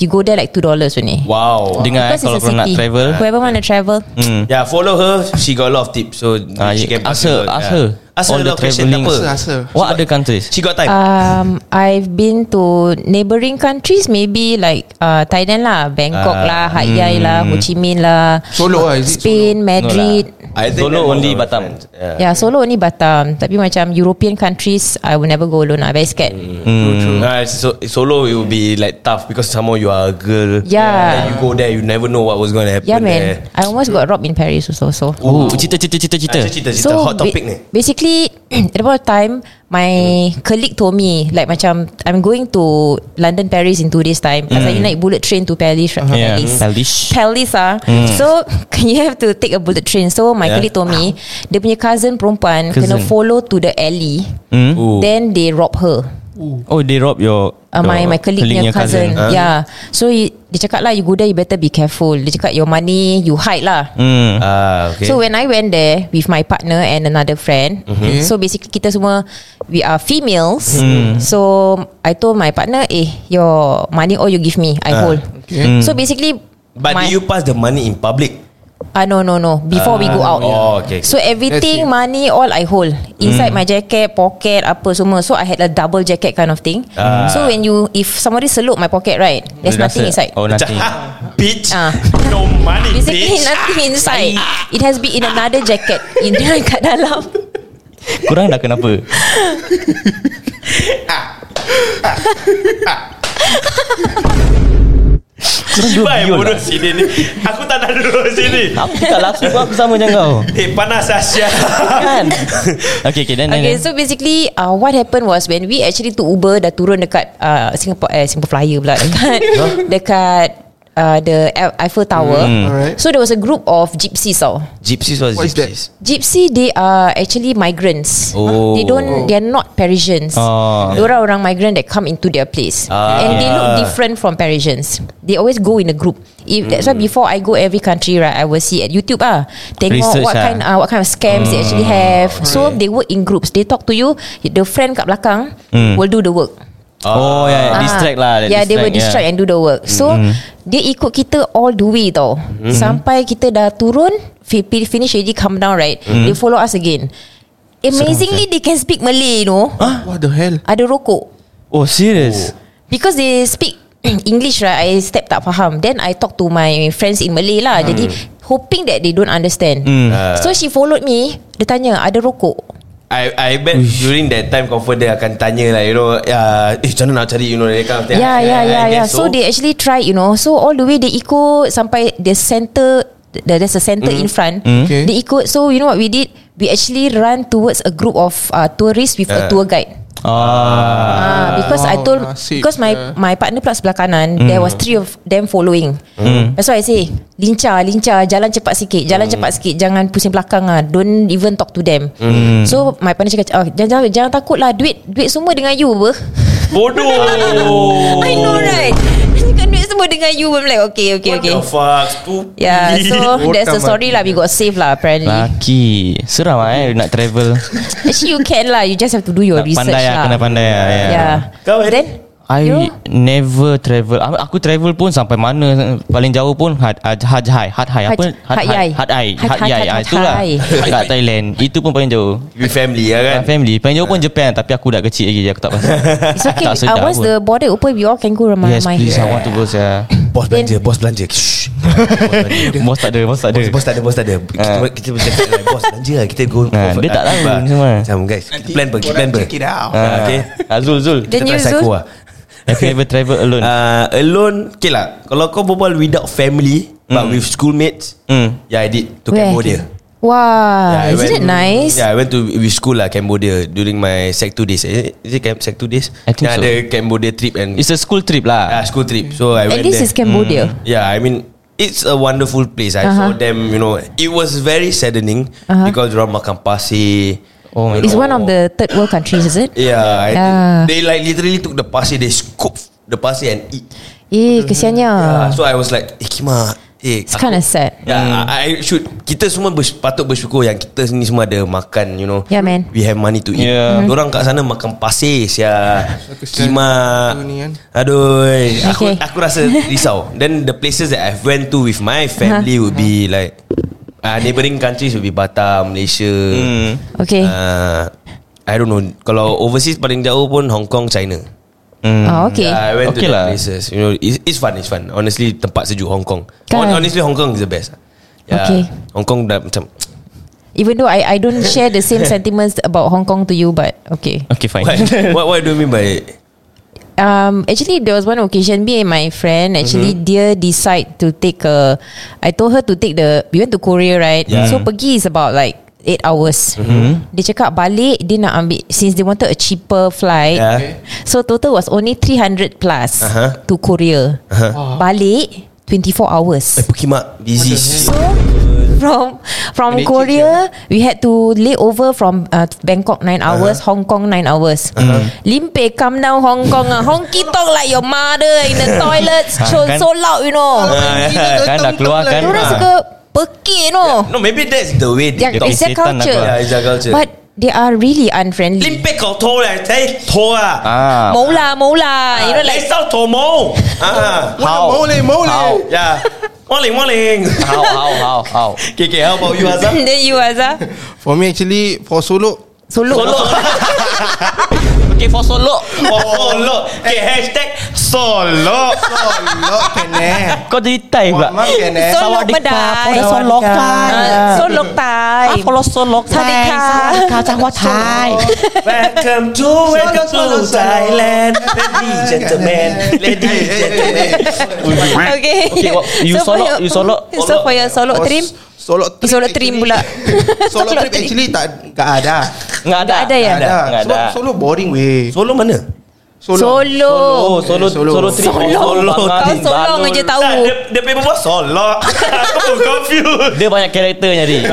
Speaker 4: You go there like $2 only.
Speaker 3: Wow
Speaker 2: Dengar eh,
Speaker 4: Because
Speaker 2: kalau
Speaker 4: it's a
Speaker 2: kau nak
Speaker 4: city.
Speaker 2: travel.
Speaker 4: Whoever want to travel.
Speaker 2: Hmm.
Speaker 3: Yeah Mm. follow her She got a lot of tips So
Speaker 2: Ah,
Speaker 3: she
Speaker 2: you-
Speaker 3: can
Speaker 2: ask her,
Speaker 3: possible-
Speaker 2: ask
Speaker 3: yeah.
Speaker 2: her.
Speaker 3: Ask
Speaker 2: All
Speaker 3: her a
Speaker 2: the
Speaker 3: lot of question Tak
Speaker 2: travelling. Uh,
Speaker 3: apa
Speaker 5: Ask her, ask her.
Speaker 2: What other countries?
Speaker 3: She got time
Speaker 4: Um, I've been to neighbouring countries maybe like uh, Thailand lah, Bangkok lah, Hat Yai lah, Ho Chi Minh lah,
Speaker 5: Solo lah, is it
Speaker 4: Spain, Madrid.
Speaker 3: I think
Speaker 2: Solo
Speaker 3: that was
Speaker 2: only
Speaker 3: our
Speaker 2: Batam.
Speaker 3: friend. Yeah.
Speaker 4: Yeah, solo ni Batam. Tapi macam European countries, I will never go alone. I very scared.
Speaker 2: Hmm.
Speaker 3: Mm. Uh, so solo it will be like tough because somehow you are a girl. And
Speaker 4: Yeah.
Speaker 3: you go there, you never know what was going to happen.
Speaker 4: Yeah man
Speaker 3: There.
Speaker 4: I almost got robbed in Paris also So
Speaker 2: Oh, cerita cerita cerita cerita.
Speaker 3: Ah, cerita cerita so, hot topic
Speaker 4: ba-
Speaker 3: ni.
Speaker 4: Basically At the point of time My colleague told me Like macam I'm going to London Paris in two days time Pasal you naik bullet train to Paris right?
Speaker 2: Yeah.
Speaker 4: Paris
Speaker 2: Paris.
Speaker 4: Paris ah. So You have to take a bullet train So
Speaker 3: Hmm.
Speaker 4: my
Speaker 3: Yeah.
Speaker 4: colleague told me Dia punya cousin perempuan Kena
Speaker 2: Cousin.
Speaker 4: follow to the alley
Speaker 2: Hmm?
Speaker 3: Ooh.
Speaker 4: Then they rob her
Speaker 2: Oh, they rob your
Speaker 4: uh,
Speaker 3: Oh,
Speaker 4: my
Speaker 2: your
Speaker 4: my colleague punya cousin.
Speaker 3: Ah.
Speaker 4: cousin. Yeah. So he, dia cakap lah you go there you better be careful. Dia cakap your money you hide lah.
Speaker 2: Hmm.
Speaker 3: Ah, okay.
Speaker 4: Okay. So when I went there with my partner and another friend, mm-hmm. so basically kita semua we are females.
Speaker 3: Hmm.
Speaker 4: Mm. So I told my partner, eh, your money all you give me, I hold. Okay. Mm. So
Speaker 3: Ah.
Speaker 4: basically,
Speaker 3: But
Speaker 4: my,
Speaker 3: do you pass the money in public?
Speaker 4: Ah uh, no no no Before we go out
Speaker 3: oh, okay, okay.
Speaker 4: So everything Money all I hold Inside
Speaker 3: Hmm.
Speaker 4: my jacket Pocket apa semua So I had a double jacket kind of thing
Speaker 3: Ah.
Speaker 4: So when you If somebody salute my pocket right There's nothing inside
Speaker 2: Oh, nothing.
Speaker 3: Ha, bitch.
Speaker 4: Ah.
Speaker 3: No money,
Speaker 4: Basically
Speaker 3: bitch. Ah.
Speaker 4: nothing inside It has been in another jacket In kat dalam
Speaker 2: Kurang dah kenapa? Kurang dua
Speaker 3: Cibai
Speaker 2: biol
Speaker 3: bodoh
Speaker 2: lah.
Speaker 3: sini ni. Aku tak nak duduk sini.
Speaker 2: Aku tak laku pun aku sama macam kau
Speaker 3: Eh, panas Asya.
Speaker 2: Kan Okay okay then, then,
Speaker 4: Okay
Speaker 2: then.
Speaker 4: so basically uh, What happened was When we actually took Uber Dah turun dekat uh, Singapore eh, Singapore Flyer pula Dekat Dekat uh, The Eiffel Tower
Speaker 3: Hmm.
Speaker 5: Alright.
Speaker 4: So there was a group of gypsies tau
Speaker 3: Gypsies was
Speaker 5: What is that?
Speaker 3: gypsies.
Speaker 4: Gypsy they are actually migrants.
Speaker 3: Oh.
Speaker 4: They don't they are not Parisians.
Speaker 2: Oh.
Speaker 4: They are orang migrant that come into their place.
Speaker 3: Ah.
Speaker 4: And they look different from Parisians. They always go in a group. If that's why before I go every country right, I will see at YouTube ah tengok
Speaker 2: Research
Speaker 4: what
Speaker 2: ah.
Speaker 4: kind ah what kind of scams they actually have. So they work in groups. They talk to you, the friend kat belakang will do the work.
Speaker 2: Oh yeah, yeah
Speaker 4: Ah.
Speaker 2: distract lah
Speaker 4: Yeah they will distract And do the work So Dia ikut kita All the way tau Sampai kita dah turun fi- fi- Finish already Come down right They follow us again Amazingly They can speak Malay you know
Speaker 5: What the hell
Speaker 4: Ada rokok
Speaker 2: Oh serious
Speaker 4: Because they speak English right I step tak faham Then I talk to my Friends in Malay lah Jadi Hoping that they don't understand So she followed me Dia tanya Ada rokok
Speaker 3: I I bet during that time confirm dia akan tanya lah you know uh, eh macam mana nak cari you know that kind of thing.
Speaker 4: Yeah,
Speaker 3: I- I- I
Speaker 4: yeah, yeah,
Speaker 3: guess
Speaker 4: yeah. ya, So, they actually tried, you know. So all the way they ikut sampai the center, there- there's a center in front.
Speaker 5: Okay.
Speaker 4: They ikut. So you know what we did? We actually run towards a group of uh, tourists with
Speaker 3: Ah.
Speaker 4: a tour guide.
Speaker 2: Ah,
Speaker 4: Ah, because I
Speaker 5: Wow,
Speaker 4: told
Speaker 5: nasib
Speaker 4: because my
Speaker 5: sia.
Speaker 4: my partner pula sebelah kanan there was three of them following. That's why I say lincah lincah jalan cepat sikit jalan cepat sikit jangan pusing belakang ah don't even talk to them. So my partner cakap oh, jangan jangan, jangan takut lah duit duit semua dengan you ber.
Speaker 3: bodoh. Oh.
Speaker 4: I know right Dia Cakap duit semua dengan you I'm like okay okay
Speaker 3: What
Speaker 4: okay
Speaker 3: the fuck? Stupid.
Speaker 4: Yeah so
Speaker 5: Otak
Speaker 4: That's the
Speaker 5: mati.
Speaker 4: story lah We got saved lah apparently
Speaker 2: Laki Seram lah eh Nak travel
Speaker 4: Actually you can lah You just have to do your
Speaker 2: Nak
Speaker 4: research
Speaker 2: pandai lah
Speaker 4: lah
Speaker 2: Kena pandai lah
Speaker 4: Yeah,
Speaker 2: yeah.
Speaker 4: yeah.
Speaker 3: Kau, eh? Harry?
Speaker 4: Then
Speaker 2: I
Speaker 4: You?
Speaker 2: never travel Aku aku travel pun sampai mana Paling jauh pun Had Had Had Hai Had Hai apa?
Speaker 4: Haj- Hat Yai.
Speaker 2: Had Hai
Speaker 4: Hat-
Speaker 2: Had Yai
Speaker 4: Hat- Hat-
Speaker 2: Ah,
Speaker 4: Hat
Speaker 2: Itulah
Speaker 4: Yai.
Speaker 2: Kat Thailand Itu pun paling jauh
Speaker 3: With family lah kan?
Speaker 2: Ah, Family Paling jauh pun Japan Tapi aku dah kecil lagi Aku tak pasal
Speaker 4: It's okay
Speaker 2: Tak
Speaker 4: uh,
Speaker 2: sedap
Speaker 4: Once
Speaker 2: pun.
Speaker 4: the border open We all can go
Speaker 2: Yes
Speaker 4: ramai
Speaker 2: please I want to go saya.
Speaker 3: Bos belanja, bos belanja. Shh. Bos belanja.
Speaker 2: Bos tak ada Bos tak ada
Speaker 3: Bos, bos tak ada, bos tak ada. Kita,
Speaker 2: Ah.
Speaker 3: kita bercakap dengan bos belanja lah. Kita go.
Speaker 2: Ah, dia tak tahu
Speaker 3: Bah.
Speaker 2: semua.
Speaker 3: Macam guys, kita plan pergi,
Speaker 5: Korang
Speaker 3: plan pergi.
Speaker 5: check it out
Speaker 3: Ah,
Speaker 2: Ah,
Speaker 3: Okay.
Speaker 2: Azul Zul
Speaker 4: Then
Speaker 3: Kita
Speaker 4: you,
Speaker 3: try
Speaker 4: Zul?
Speaker 3: aku lah.
Speaker 2: Have you ever travel alone
Speaker 3: Uh, alone Okay lah Kalau kau berbual without family But with schoolmates
Speaker 2: Hmm.
Speaker 3: Yeah I did To
Speaker 4: Where?
Speaker 3: Cambodia
Speaker 4: Wow,
Speaker 3: I
Speaker 4: isn't
Speaker 3: went-
Speaker 4: it nice?
Speaker 3: Yeah, I went to with school lah Cambodia during my sec 2 days. Is it, is it camp, sec 2 days?
Speaker 2: I think
Speaker 3: yeah,
Speaker 2: so.
Speaker 3: Ada Cambodia trip and
Speaker 2: It's a school trip
Speaker 3: ah,
Speaker 2: lah.
Speaker 3: school trip. So I
Speaker 4: At
Speaker 3: went
Speaker 4: least
Speaker 3: there.
Speaker 4: it's Cambodia.
Speaker 2: Mm.
Speaker 3: Yeah, I mean it's a wonderful place. I saw
Speaker 4: Uh-huh.
Speaker 3: them, you know. It was very saddening
Speaker 4: Uh-huh.
Speaker 3: because orang makan pasir.
Speaker 2: Oh my
Speaker 3: you
Speaker 4: It's
Speaker 3: know.
Speaker 4: one of the third world countries, is it?
Speaker 3: Yeah, I,
Speaker 4: Yeah.
Speaker 3: they like literally took the pasir, they scoop the pasir and eat.
Speaker 4: Eh, kesiannya.
Speaker 3: Yeah, so I was like, eh Kima, eh,
Speaker 2: Mm.
Speaker 4: It's kind of sad.
Speaker 3: Yeah, I, I should kita semua bers, patut bersyukur yang kita ni semua ada makan, you know.
Speaker 4: Yeah, Ya, man. Hmm.
Speaker 3: We have money to eat.
Speaker 5: Ya.
Speaker 2: Yeah.
Speaker 3: Orang kat sana makan pasir sia.
Speaker 5: kesian
Speaker 3: Kima.
Speaker 5: tu ni kan.
Speaker 3: Aduh, aku
Speaker 4: Okay.
Speaker 3: aku rasa risau. Then the places that I've went to with my family
Speaker 4: Uh-huh.
Speaker 3: would be like uh, neighboring countries would be Batam, Malaysia.
Speaker 2: Hmm.
Speaker 4: Okay.
Speaker 3: Uh, I don't know. Kalau overseas paling jauh pun Hong Kong, China.
Speaker 2: Mm.
Speaker 4: oh, okay.
Speaker 3: Yeah, I went
Speaker 2: Okay
Speaker 3: to
Speaker 2: lah.
Speaker 3: the places. You know, it's, it's fun, it's fun. Honestly, tempat sejuk Hong Kong.
Speaker 4: Kan?
Speaker 3: Hon- Honestly, Hong Kong is the best. Yeah.
Speaker 4: Okay.
Speaker 3: Hong Kong dah macam
Speaker 4: Even though I I don't share the same sentiments about Hong Kong to you, but okay.
Speaker 2: Okay fine.
Speaker 3: what, what what do you mean by
Speaker 4: Um, actually, there was one occasion. Me and my friend actually
Speaker 3: Mhm.
Speaker 4: dia decide to take a. I told her to take the. We went to Korea, right? So pergi is about like eight hours.
Speaker 3: Mm-hmm.
Speaker 4: Dia cakap balik dia nak ambil since they wanted a cheaper flight.
Speaker 3: Yeah. Okay.
Speaker 4: So total was only 300 plus
Speaker 3: Uh-huh.
Speaker 4: to Korea. Balik 24 hours.
Speaker 3: eh, Pukimak busy?
Speaker 4: So from from
Speaker 5: Leceh
Speaker 4: Korea, we had to lay over from uh, Bangkok 9
Speaker 2: Uh-huh.
Speaker 4: hours, Hong Kong 9 hours. Limpe come down Hong Kong. ah. Hong Ki talk like your mother in the toilets. so,
Speaker 2: kan?
Speaker 4: so loud, you know.
Speaker 2: kan dah keluar kan.
Speaker 4: Orang
Speaker 2: Ah.
Speaker 4: suka pekik, you know.
Speaker 3: No, maybe that's the way they
Speaker 4: Yeah,
Speaker 3: talk.
Speaker 2: Dia
Speaker 4: it's their
Speaker 2: setan lah
Speaker 4: culture.
Speaker 2: kau.
Speaker 3: Yeah, it's their culture.
Speaker 4: But they are really unfriendly.
Speaker 3: Limpek kau tol lah, saya tol lah.
Speaker 2: Ah.
Speaker 4: Mau lah, mau lah. You know, like
Speaker 3: Lesau tomo. Ah,
Speaker 5: How? Mole, mole.
Speaker 2: How?
Speaker 3: yeah. Morning, morning.
Speaker 2: How how how how.
Speaker 3: Okay, okay, how about you,
Speaker 2: Ah,
Speaker 3: Azam?
Speaker 4: then you Azhar
Speaker 5: For me actually, for solo,
Speaker 4: Solo.
Speaker 2: Okay for solo.
Speaker 3: Oh, solo. Okay, hashtag solo.
Speaker 5: solo can eh.
Speaker 2: Kau jadi Thai pula.
Speaker 5: Memang can eh.
Speaker 4: Solo
Speaker 2: Sawadee ka,
Speaker 4: bedai.
Speaker 2: solo Thai.
Speaker 4: Ah, Solo Thai.
Speaker 2: Kalau solo
Speaker 4: Sawadee ka.
Speaker 3: Welcome to welcome to Thailand, ladies gentlemen, ladies gentlemen.
Speaker 4: Okay.
Speaker 2: Okay, what- you
Speaker 4: for
Speaker 2: solok,
Speaker 4: your-
Speaker 2: you solok.
Speaker 4: So for your solok
Speaker 5: Oh,
Speaker 4: trim,
Speaker 5: Solo trim
Speaker 4: Solo trim
Speaker 5: actually-
Speaker 4: pula.
Speaker 5: Solo
Speaker 4: Solo
Speaker 5: trim
Speaker 4: trim.
Speaker 5: actually tak tak ada.
Speaker 2: Enggak ada.
Speaker 4: Tak ada ya?
Speaker 5: Tak ada.
Speaker 2: Enggak
Speaker 5: Sebab
Speaker 2: ada.
Speaker 5: solo boring weh.
Speaker 3: Solo mana?
Speaker 5: Solo.
Speaker 2: Oh, solo
Speaker 5: Eh,
Speaker 4: solo.
Speaker 5: solo.
Speaker 2: solo trip.
Speaker 4: Solo. Kau solong aja
Speaker 3: Tak,
Speaker 4: tahu.
Speaker 3: Oh, dia, dia punya berbual solo. Aku pun confused.
Speaker 2: Dia banyak karakternya ni.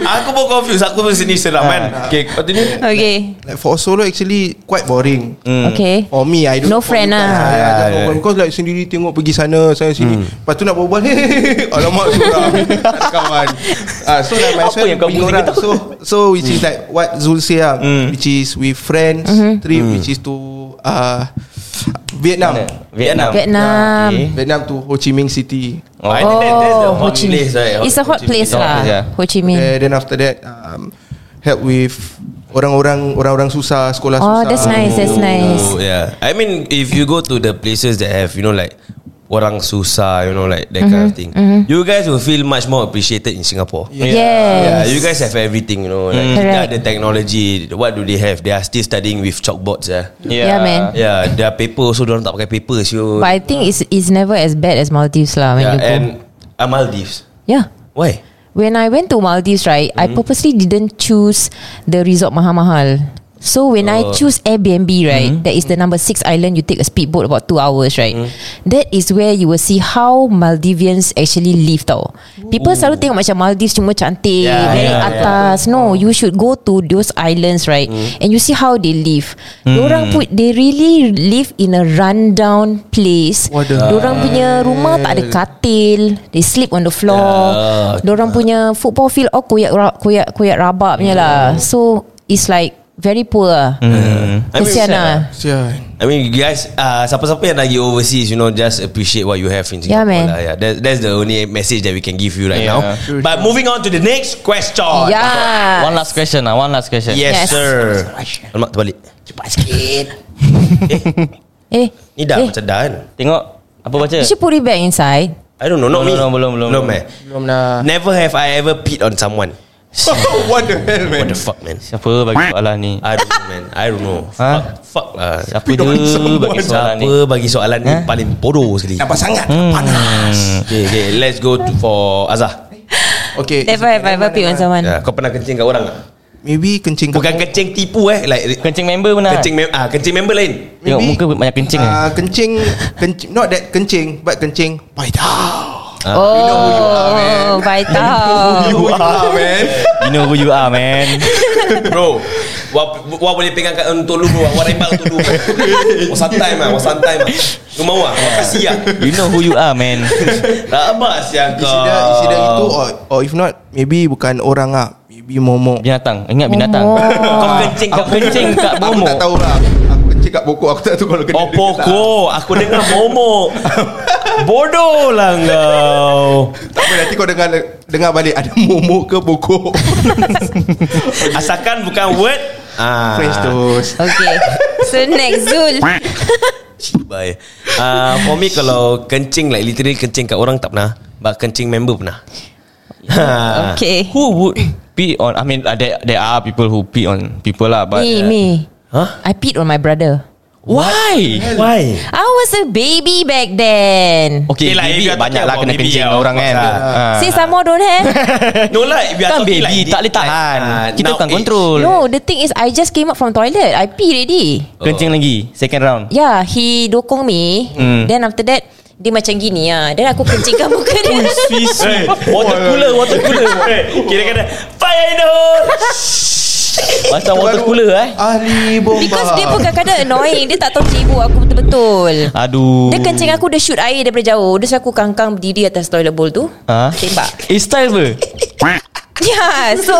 Speaker 3: Aku pun confused. Aku pun sini seram kan. Okay, continue.
Speaker 4: Okay.
Speaker 5: Like for solo actually quite boring.
Speaker 2: Hmm.
Speaker 3: Hmm.
Speaker 4: Okay.
Speaker 3: Oh.
Speaker 5: For me I don't
Speaker 4: No
Speaker 5: for
Speaker 4: friend
Speaker 5: you guys,
Speaker 4: lah.
Speaker 5: I ajak berbual. Because like sendiri tengok pergi sana Sana sini
Speaker 2: Hmm.
Speaker 5: Lepas tu nak berbual Alamak surah Kawan Ah, So like my
Speaker 2: Apa yang
Speaker 5: friend
Speaker 2: kau Hmm.
Speaker 5: pergi
Speaker 2: pusing
Speaker 5: orang
Speaker 2: itu?
Speaker 5: So so which is like What Zul say lah
Speaker 2: Hmm.
Speaker 5: Which is with friends
Speaker 4: Mm-hmm.
Speaker 5: Trip which is to uh, Vietnam
Speaker 2: Vietnam.
Speaker 4: Vietnam.
Speaker 2: Okay.
Speaker 5: Vietnam to Ho Chi Minh City
Speaker 3: Oh, I think that, that's the
Speaker 4: Oh, Ho
Speaker 3: hot
Speaker 4: Chi Minh.
Speaker 3: place, right?
Speaker 4: It's a hot place
Speaker 2: It's a hot
Speaker 4: lah.
Speaker 2: place, yeah.
Speaker 4: Ho Chi Minh.
Speaker 5: Then, then after that um, Help with Orang-orang Orang-orang susah Sekolah susah
Speaker 4: Oh, that's nice. That's nice.
Speaker 3: Oh, yeah. I mean, if you go to the places that have, you know, like orang susah, you know, like that kind of
Speaker 4: Mm-hmm.
Speaker 3: thing, you guys will feel much more appreciated in Singapore. Yeah,
Speaker 4: Yes. Mm.
Speaker 3: you guys have everything, you know. Like, Kita
Speaker 4: Correct.
Speaker 3: ada technology. What do they have? They are still studying with chalkboards, yeah.
Speaker 4: Yeah, man.
Speaker 3: Yeah, their paper also don't tak pakai paper, so.
Speaker 4: But I think it's it's never as bad as Maldives lah when
Speaker 3: yeah,
Speaker 4: you go.
Speaker 3: and uh, Maldives.
Speaker 4: yeah.
Speaker 3: Why?
Speaker 4: When I went to Maldives, right, I
Speaker 3: Mm-hmm.
Speaker 4: purposely didn't choose the resort mahal-mahal. So when
Speaker 3: Oh.
Speaker 4: I choose Airbnb, right,
Speaker 3: Mm-hmm.
Speaker 4: that is the number six island. You take a speedboat about two hours, right?
Speaker 3: Mm-hmm.
Speaker 4: That is where you will see how Maldivians actually live. Tau, people selalu tengok macam Maldives cuma cantik,
Speaker 3: Yeah,
Speaker 4: very
Speaker 3: yeah, Oh.
Speaker 4: atas. No, you should go to those islands, right,
Speaker 3: Mm-hmm.
Speaker 4: and you see how they live.
Speaker 3: Mm.
Speaker 4: Orang put they really live in a rundown place.
Speaker 5: Waduh.
Speaker 2: Ah.
Speaker 4: Orang punya rumah tak ada katil, they sleep on the floor.
Speaker 3: Yeah.
Speaker 4: Diorang punya football field all koyak ra- koyak koyak rabak punya lah. So it's like very poor. lah.
Speaker 2: Hmm?
Speaker 3: I mean, sad
Speaker 4: Kesian lah.
Speaker 5: Sian
Speaker 3: I mean, you guys, uh, siapa-siapa yang lagi overseas, you know, just appreciate what you have in Singapore.
Speaker 4: Yeah, man.
Speaker 3: Lah, yeah. That, that's the only message that we can give you right
Speaker 2: Yeah.
Speaker 3: now. But moving on to the next question.
Speaker 4: lah. Ya. Yeah.
Speaker 2: One last question lah One last question
Speaker 3: Yes,
Speaker 4: Yes.
Speaker 3: sir. Alamak, terbalik.
Speaker 4: Eh,
Speaker 3: Ni dah
Speaker 4: Eh.
Speaker 3: macam dah kan?
Speaker 2: Tengok Apa baca
Speaker 4: you should put it back inside.
Speaker 3: I don't know, not
Speaker 2: Belum,
Speaker 3: me.
Speaker 2: belum, belum, belum.
Speaker 3: Belum, eh?
Speaker 5: Belum lah
Speaker 3: Never have I ever peed on someone.
Speaker 5: What the hell man
Speaker 3: What the fuck, man?
Speaker 2: Siapa bagi soalan ni
Speaker 3: I don't know, man. I don't know.
Speaker 2: Ha?
Speaker 3: Fuck, fuck lah.
Speaker 2: Siapa dia bagi soalan ni
Speaker 3: Siapa bagi soalan ni paling bodoh sekali.
Speaker 5: Nampak sangat hmm. Panas
Speaker 3: Okay, okay, let's go to, for Azah.
Speaker 5: Okay
Speaker 4: Never have I ever pick on
Speaker 2: Kan?
Speaker 4: someone
Speaker 3: Ya, kau pernah kencing kat orang tak?
Speaker 5: Maybe kencing
Speaker 3: Bukan kencing tipu eh like
Speaker 2: Kencing member pun nak.
Speaker 3: kencing mem- ah kencing member lain.
Speaker 2: Tengok muka banyak kencing eh.
Speaker 5: Ah, kencing, kencing Not that kencing But kencing Paitau
Speaker 4: Oh Vital
Speaker 3: Oh.
Speaker 5: You are man
Speaker 2: You know who you are man
Speaker 3: Bro, wah, wah boleh pegang kat untuk lu bro. Wah rembang untuk lu. Wah santai mah, wah santai mah. Lu mau ah? Wah kasih ah.
Speaker 2: You know who you are man
Speaker 3: Rabak siang kau.
Speaker 5: Isidah, isidah itu oh, or, or if not Maybe bukan orang lah
Speaker 3: Ya,
Speaker 5: Maybe momok
Speaker 2: Binatang Ingat binatang
Speaker 4: Oh.
Speaker 2: Kau kencing Kau kencing kat
Speaker 5: Aku
Speaker 2: bomo
Speaker 5: tak tahu lah Aku kencing kat pokok Aku tak tahu kalau kena
Speaker 3: Oh pokok Aku dengar momok Bodoh lah kau
Speaker 5: Tak apa nanti kau dengar Dengar balik Ada momok ke pokok
Speaker 3: Asalkan bukan word ah.
Speaker 5: French toast
Speaker 4: Okay So next Zul
Speaker 3: Bye uh, For me kalau Kencing like literally Kencing kat orang tak pernah But kencing member pernah ha.
Speaker 4: Okay
Speaker 2: Who would pee on I mean uh, there, there are people who pee on people lah But
Speaker 4: Me
Speaker 2: uh,
Speaker 4: me
Speaker 3: Huh?
Speaker 4: I peed on my brother
Speaker 2: Why?
Speaker 3: Why?
Speaker 4: I was a baby back then
Speaker 2: Okay,
Speaker 3: Eh lah, if
Speaker 2: baby
Speaker 3: you are
Speaker 2: banyak
Speaker 3: talking
Speaker 2: lah
Speaker 3: about
Speaker 2: kena
Speaker 3: baby,
Speaker 2: kencing
Speaker 3: yeah, of
Speaker 2: orang kan
Speaker 3: course
Speaker 2: Ah.
Speaker 4: Say some more don't have
Speaker 3: No lah if you are
Speaker 2: Kan baby
Speaker 3: talking like
Speaker 2: tak boleh
Speaker 3: like,
Speaker 2: tahan
Speaker 3: ah,
Speaker 2: Kita
Speaker 3: now
Speaker 2: bukan
Speaker 3: age.
Speaker 2: control
Speaker 4: No the thing is I just came up from toilet I pee already
Speaker 2: Kencing lagi Second round
Speaker 4: Yeah he dokong me
Speaker 2: Hmm.
Speaker 4: Then after that Dia macam gini ah. Then aku kencingkan muka dia
Speaker 3: Hey, Water cooler Water cooler Kira-kira Fire in the hole
Speaker 2: Macam water cooler eh
Speaker 5: Ahli bomba
Speaker 4: Because dia pun kadang-kadang annoying Dia tak tahu sibuk aku betul-betul
Speaker 2: Aduh
Speaker 4: Dia kencing aku Dia shoot air daripada jauh Dia suruh aku kangkang Berdiri atas toilet bowl tu
Speaker 2: Ha?
Speaker 4: Tembak
Speaker 2: Eh style apa?
Speaker 4: Yeah so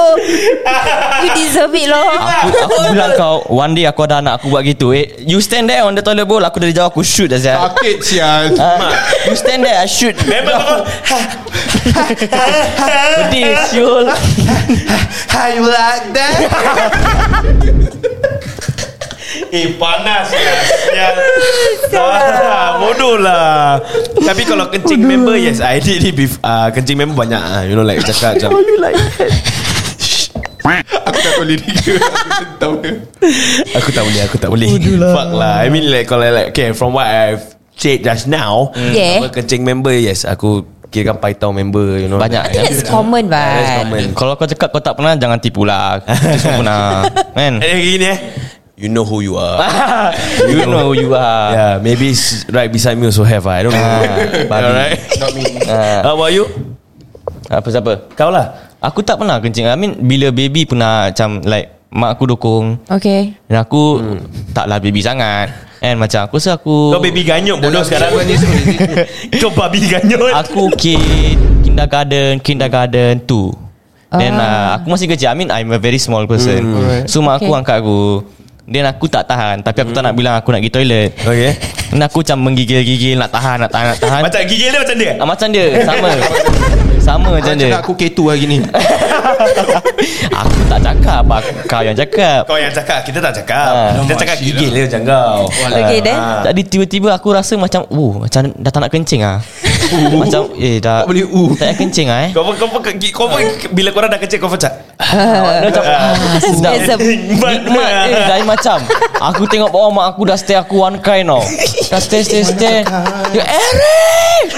Speaker 4: You deserve it lah. loh
Speaker 2: Aku, aku bilang kau One day aku ada anak Aku buat gitu eh, You stand there on the toilet bowl Aku dari jauh aku shoot dah Zia Ha?
Speaker 5: Sakit sial
Speaker 2: You stand there I shoot
Speaker 3: Member kau
Speaker 2: Pedih siul
Speaker 5: How you like that?
Speaker 3: Eh panas lah Sial ah, Bodoh lah Tapi kalau kencing member Yes I did it before uh, Kencing member banyak ah, You know like cakap macam
Speaker 5: Aku tak tahu lirik dia
Speaker 3: Aku
Speaker 5: Aku tahu dia
Speaker 3: tak boleh Aku tak boleh Fuck lah I mean like Kalau like Okay from what I've Said just now
Speaker 4: Yeah.
Speaker 3: apa, Kencing member Yes aku Kirakan Paitao member You know
Speaker 2: Banyak ya.
Speaker 4: I think that's common
Speaker 3: That's
Speaker 4: but
Speaker 3: common
Speaker 2: Kalau kau cakap kau tak pernah Jangan tipu lah Kita semua pernah Kan
Speaker 3: Eh gini eh You know who you
Speaker 2: Ah.
Speaker 3: are
Speaker 2: You know who you are
Speaker 3: Yeah Maybe it's right beside me also have ah. I don't know
Speaker 2: buddy.
Speaker 3: Alright
Speaker 5: Not me
Speaker 3: How about you?
Speaker 2: Ah, Apa siapa
Speaker 3: Kau lah
Speaker 2: Aku tak pernah kencing I mean bila baby pernah Macam like Mak aku dokong
Speaker 4: Okay
Speaker 2: Dan aku hmm. Taklah baby sangat And macam aku rasa aku
Speaker 3: Kau baby ganyok bodoh sekarang
Speaker 5: Bukan ni so lirik.
Speaker 3: Kau babi ganyok
Speaker 2: Aku kid Kindergarten Kindergarten tu Then ah. uh, aku masih kecil I mean I'm a very small person
Speaker 3: Hmm.
Speaker 5: Alright.
Speaker 2: So mak aku
Speaker 4: Okay.
Speaker 2: angkat aku Then aku tak tahan Tapi aku tak nak bilang aku nak pergi toilet
Speaker 3: Hmm. Okay
Speaker 2: Then aku macam menggigil-gigil Nak tahan Nak tahan Nak tahan
Speaker 3: Macam gigil dia macam dia
Speaker 2: ah, Macam dia Sama Sama
Speaker 5: Macam
Speaker 2: macam dia
Speaker 5: aku K2 hari ni
Speaker 2: Aku tak cakap aku, Kau yang cakap
Speaker 3: Kau yang cakap Kita tak cakap
Speaker 2: Ah.
Speaker 3: Kita cakap gigil dia macam kau Ah.
Speaker 4: Okay then
Speaker 2: Tadi tiba-tiba aku rasa macam Oh macam dah tak nak kencing ah. macam eh dah
Speaker 5: Tak boleh, uh.
Speaker 2: Tak nak kencing ah eh
Speaker 3: Kau pun kau pun kau pun bila korang dah kecil kau pun cak. uh.
Speaker 2: Ah, sedap
Speaker 4: Spasm
Speaker 2: Nikmat eh,
Speaker 3: ah.
Speaker 2: Lain macam Aku tengok bawah Mak aku dah stare aku One kind tau Dah stare stare stare Dia Eric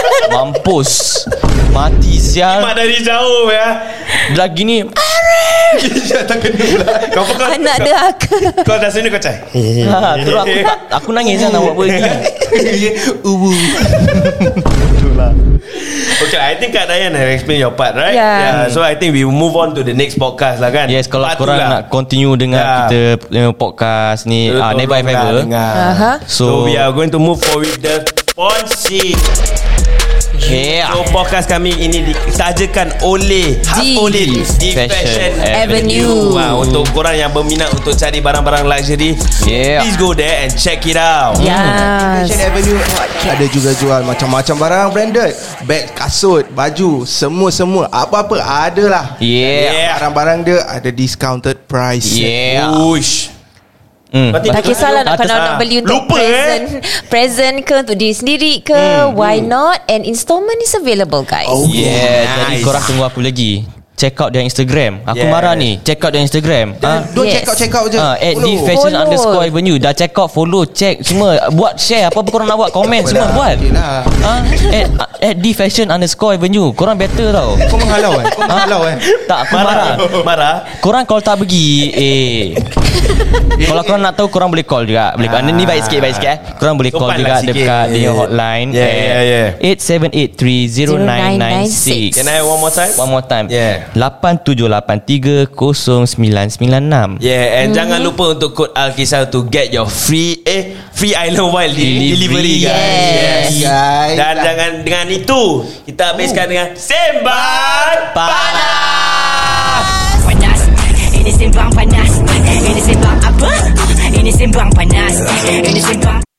Speaker 2: Mampus Mati
Speaker 3: Mak
Speaker 2: sial
Speaker 3: dari jauh ya.
Speaker 2: Dah gini
Speaker 5: Tak kena lah
Speaker 3: Kau pun kau
Speaker 4: Anak
Speaker 3: kau-
Speaker 4: dia akal
Speaker 3: Kau dah sini kau cak.
Speaker 2: ha, Terus aku tak Aku nangis kan Nak buat apa lagi
Speaker 5: Ubu
Speaker 3: Okay, I think Kak Dayan have explain your part, right?
Speaker 4: Yeah.
Speaker 3: So I think we move on to the next podcast lah kan.
Speaker 2: Yes kalau
Speaker 3: Part tu
Speaker 2: korang
Speaker 3: lah.
Speaker 2: nak Continue dengan
Speaker 3: Ya.
Speaker 2: Kita eh, Podcast ni
Speaker 3: So,
Speaker 2: uh, Never If
Speaker 3: tolonglah
Speaker 2: Ever
Speaker 3: dengar.
Speaker 2: Hmm.
Speaker 4: Aha.
Speaker 3: So,
Speaker 2: So-
Speaker 3: we are going to move forward with the Ponsi.
Speaker 2: Yeah
Speaker 3: So podcast kami ini disajikan oleh
Speaker 4: Di-
Speaker 3: oleh di
Speaker 2: Fashion
Speaker 3: Fashion
Speaker 4: Avenue.
Speaker 3: Wah, untuk korang yang berminat untuk cari barang-barang luxury,
Speaker 2: Yeah.
Speaker 3: please go there and check it out.
Speaker 4: Yes
Speaker 5: Fashion Avenue Ada juga jual macam-macam barang branded Beg, kasut, baju Semua-semua Apa-apa ada lah
Speaker 2: Yeah
Speaker 3: Yeah.
Speaker 5: Barang-barang dia ada discounted price
Speaker 2: Yeah
Speaker 3: Uish.
Speaker 2: Hmm.
Speaker 3: Berarti-
Speaker 4: tak kisahlah nak
Speaker 3: Atas
Speaker 4: kalau nak
Speaker 3: lah.
Speaker 4: beli untuk
Speaker 3: Lupa, eh. Hmm,
Speaker 4: present present ke untuk diri sendiri ke why not and installment is available guys.
Speaker 5: Oh
Speaker 2: Yeah
Speaker 3: Nice.
Speaker 2: Jadi korang tunggu aku lagi Check out their Instagram Aku
Speaker 3: Yes.
Speaker 2: marah ni Check out their Instagram Ah.
Speaker 5: Don't
Speaker 4: Yes.
Speaker 5: check out Check out je
Speaker 2: Ah, at the
Speaker 5: Follow.
Speaker 2: fashion
Speaker 4: Follow.
Speaker 2: underscore avenue Dah check out Follow check Semua Buat share Apa-apa korang nak buat Comment semua
Speaker 5: Apalah,
Speaker 2: buat
Speaker 5: yelah.
Speaker 2: Ah, At, at the fashion underscore avenue Korang better tau
Speaker 5: Kau menghalau eh Kau menghalau eh
Speaker 2: Tak aku marah
Speaker 3: Marah
Speaker 2: Korang call tak pergi Eh Kalau korang nak tahu Korang boleh call juga Boleh
Speaker 3: Ah.
Speaker 2: call Ni baik sikit Baik sikit eh Korang boleh call
Speaker 3: Sopan
Speaker 2: juga
Speaker 3: lah sikit.
Speaker 2: Dekat
Speaker 3: Yeah.
Speaker 2: dia hotline
Speaker 3: Yeah, yeah,
Speaker 2: yeah 87830996
Speaker 3: Can I one more time
Speaker 2: One more time
Speaker 3: Yeah.
Speaker 2: 87830996
Speaker 3: Yeah and mm. jangan lupa untuk kod Alkisah to get your free eh free island wide delivery, delivery
Speaker 2: Delivery.
Speaker 3: guys.
Speaker 4: Yes.
Speaker 5: Guys.
Speaker 3: Dan dengan dengan itu kita habiskan dengan sembang panas.
Speaker 6: panas Ini sembang panas Ini sembang apa? Ini sembang panas Ini sembang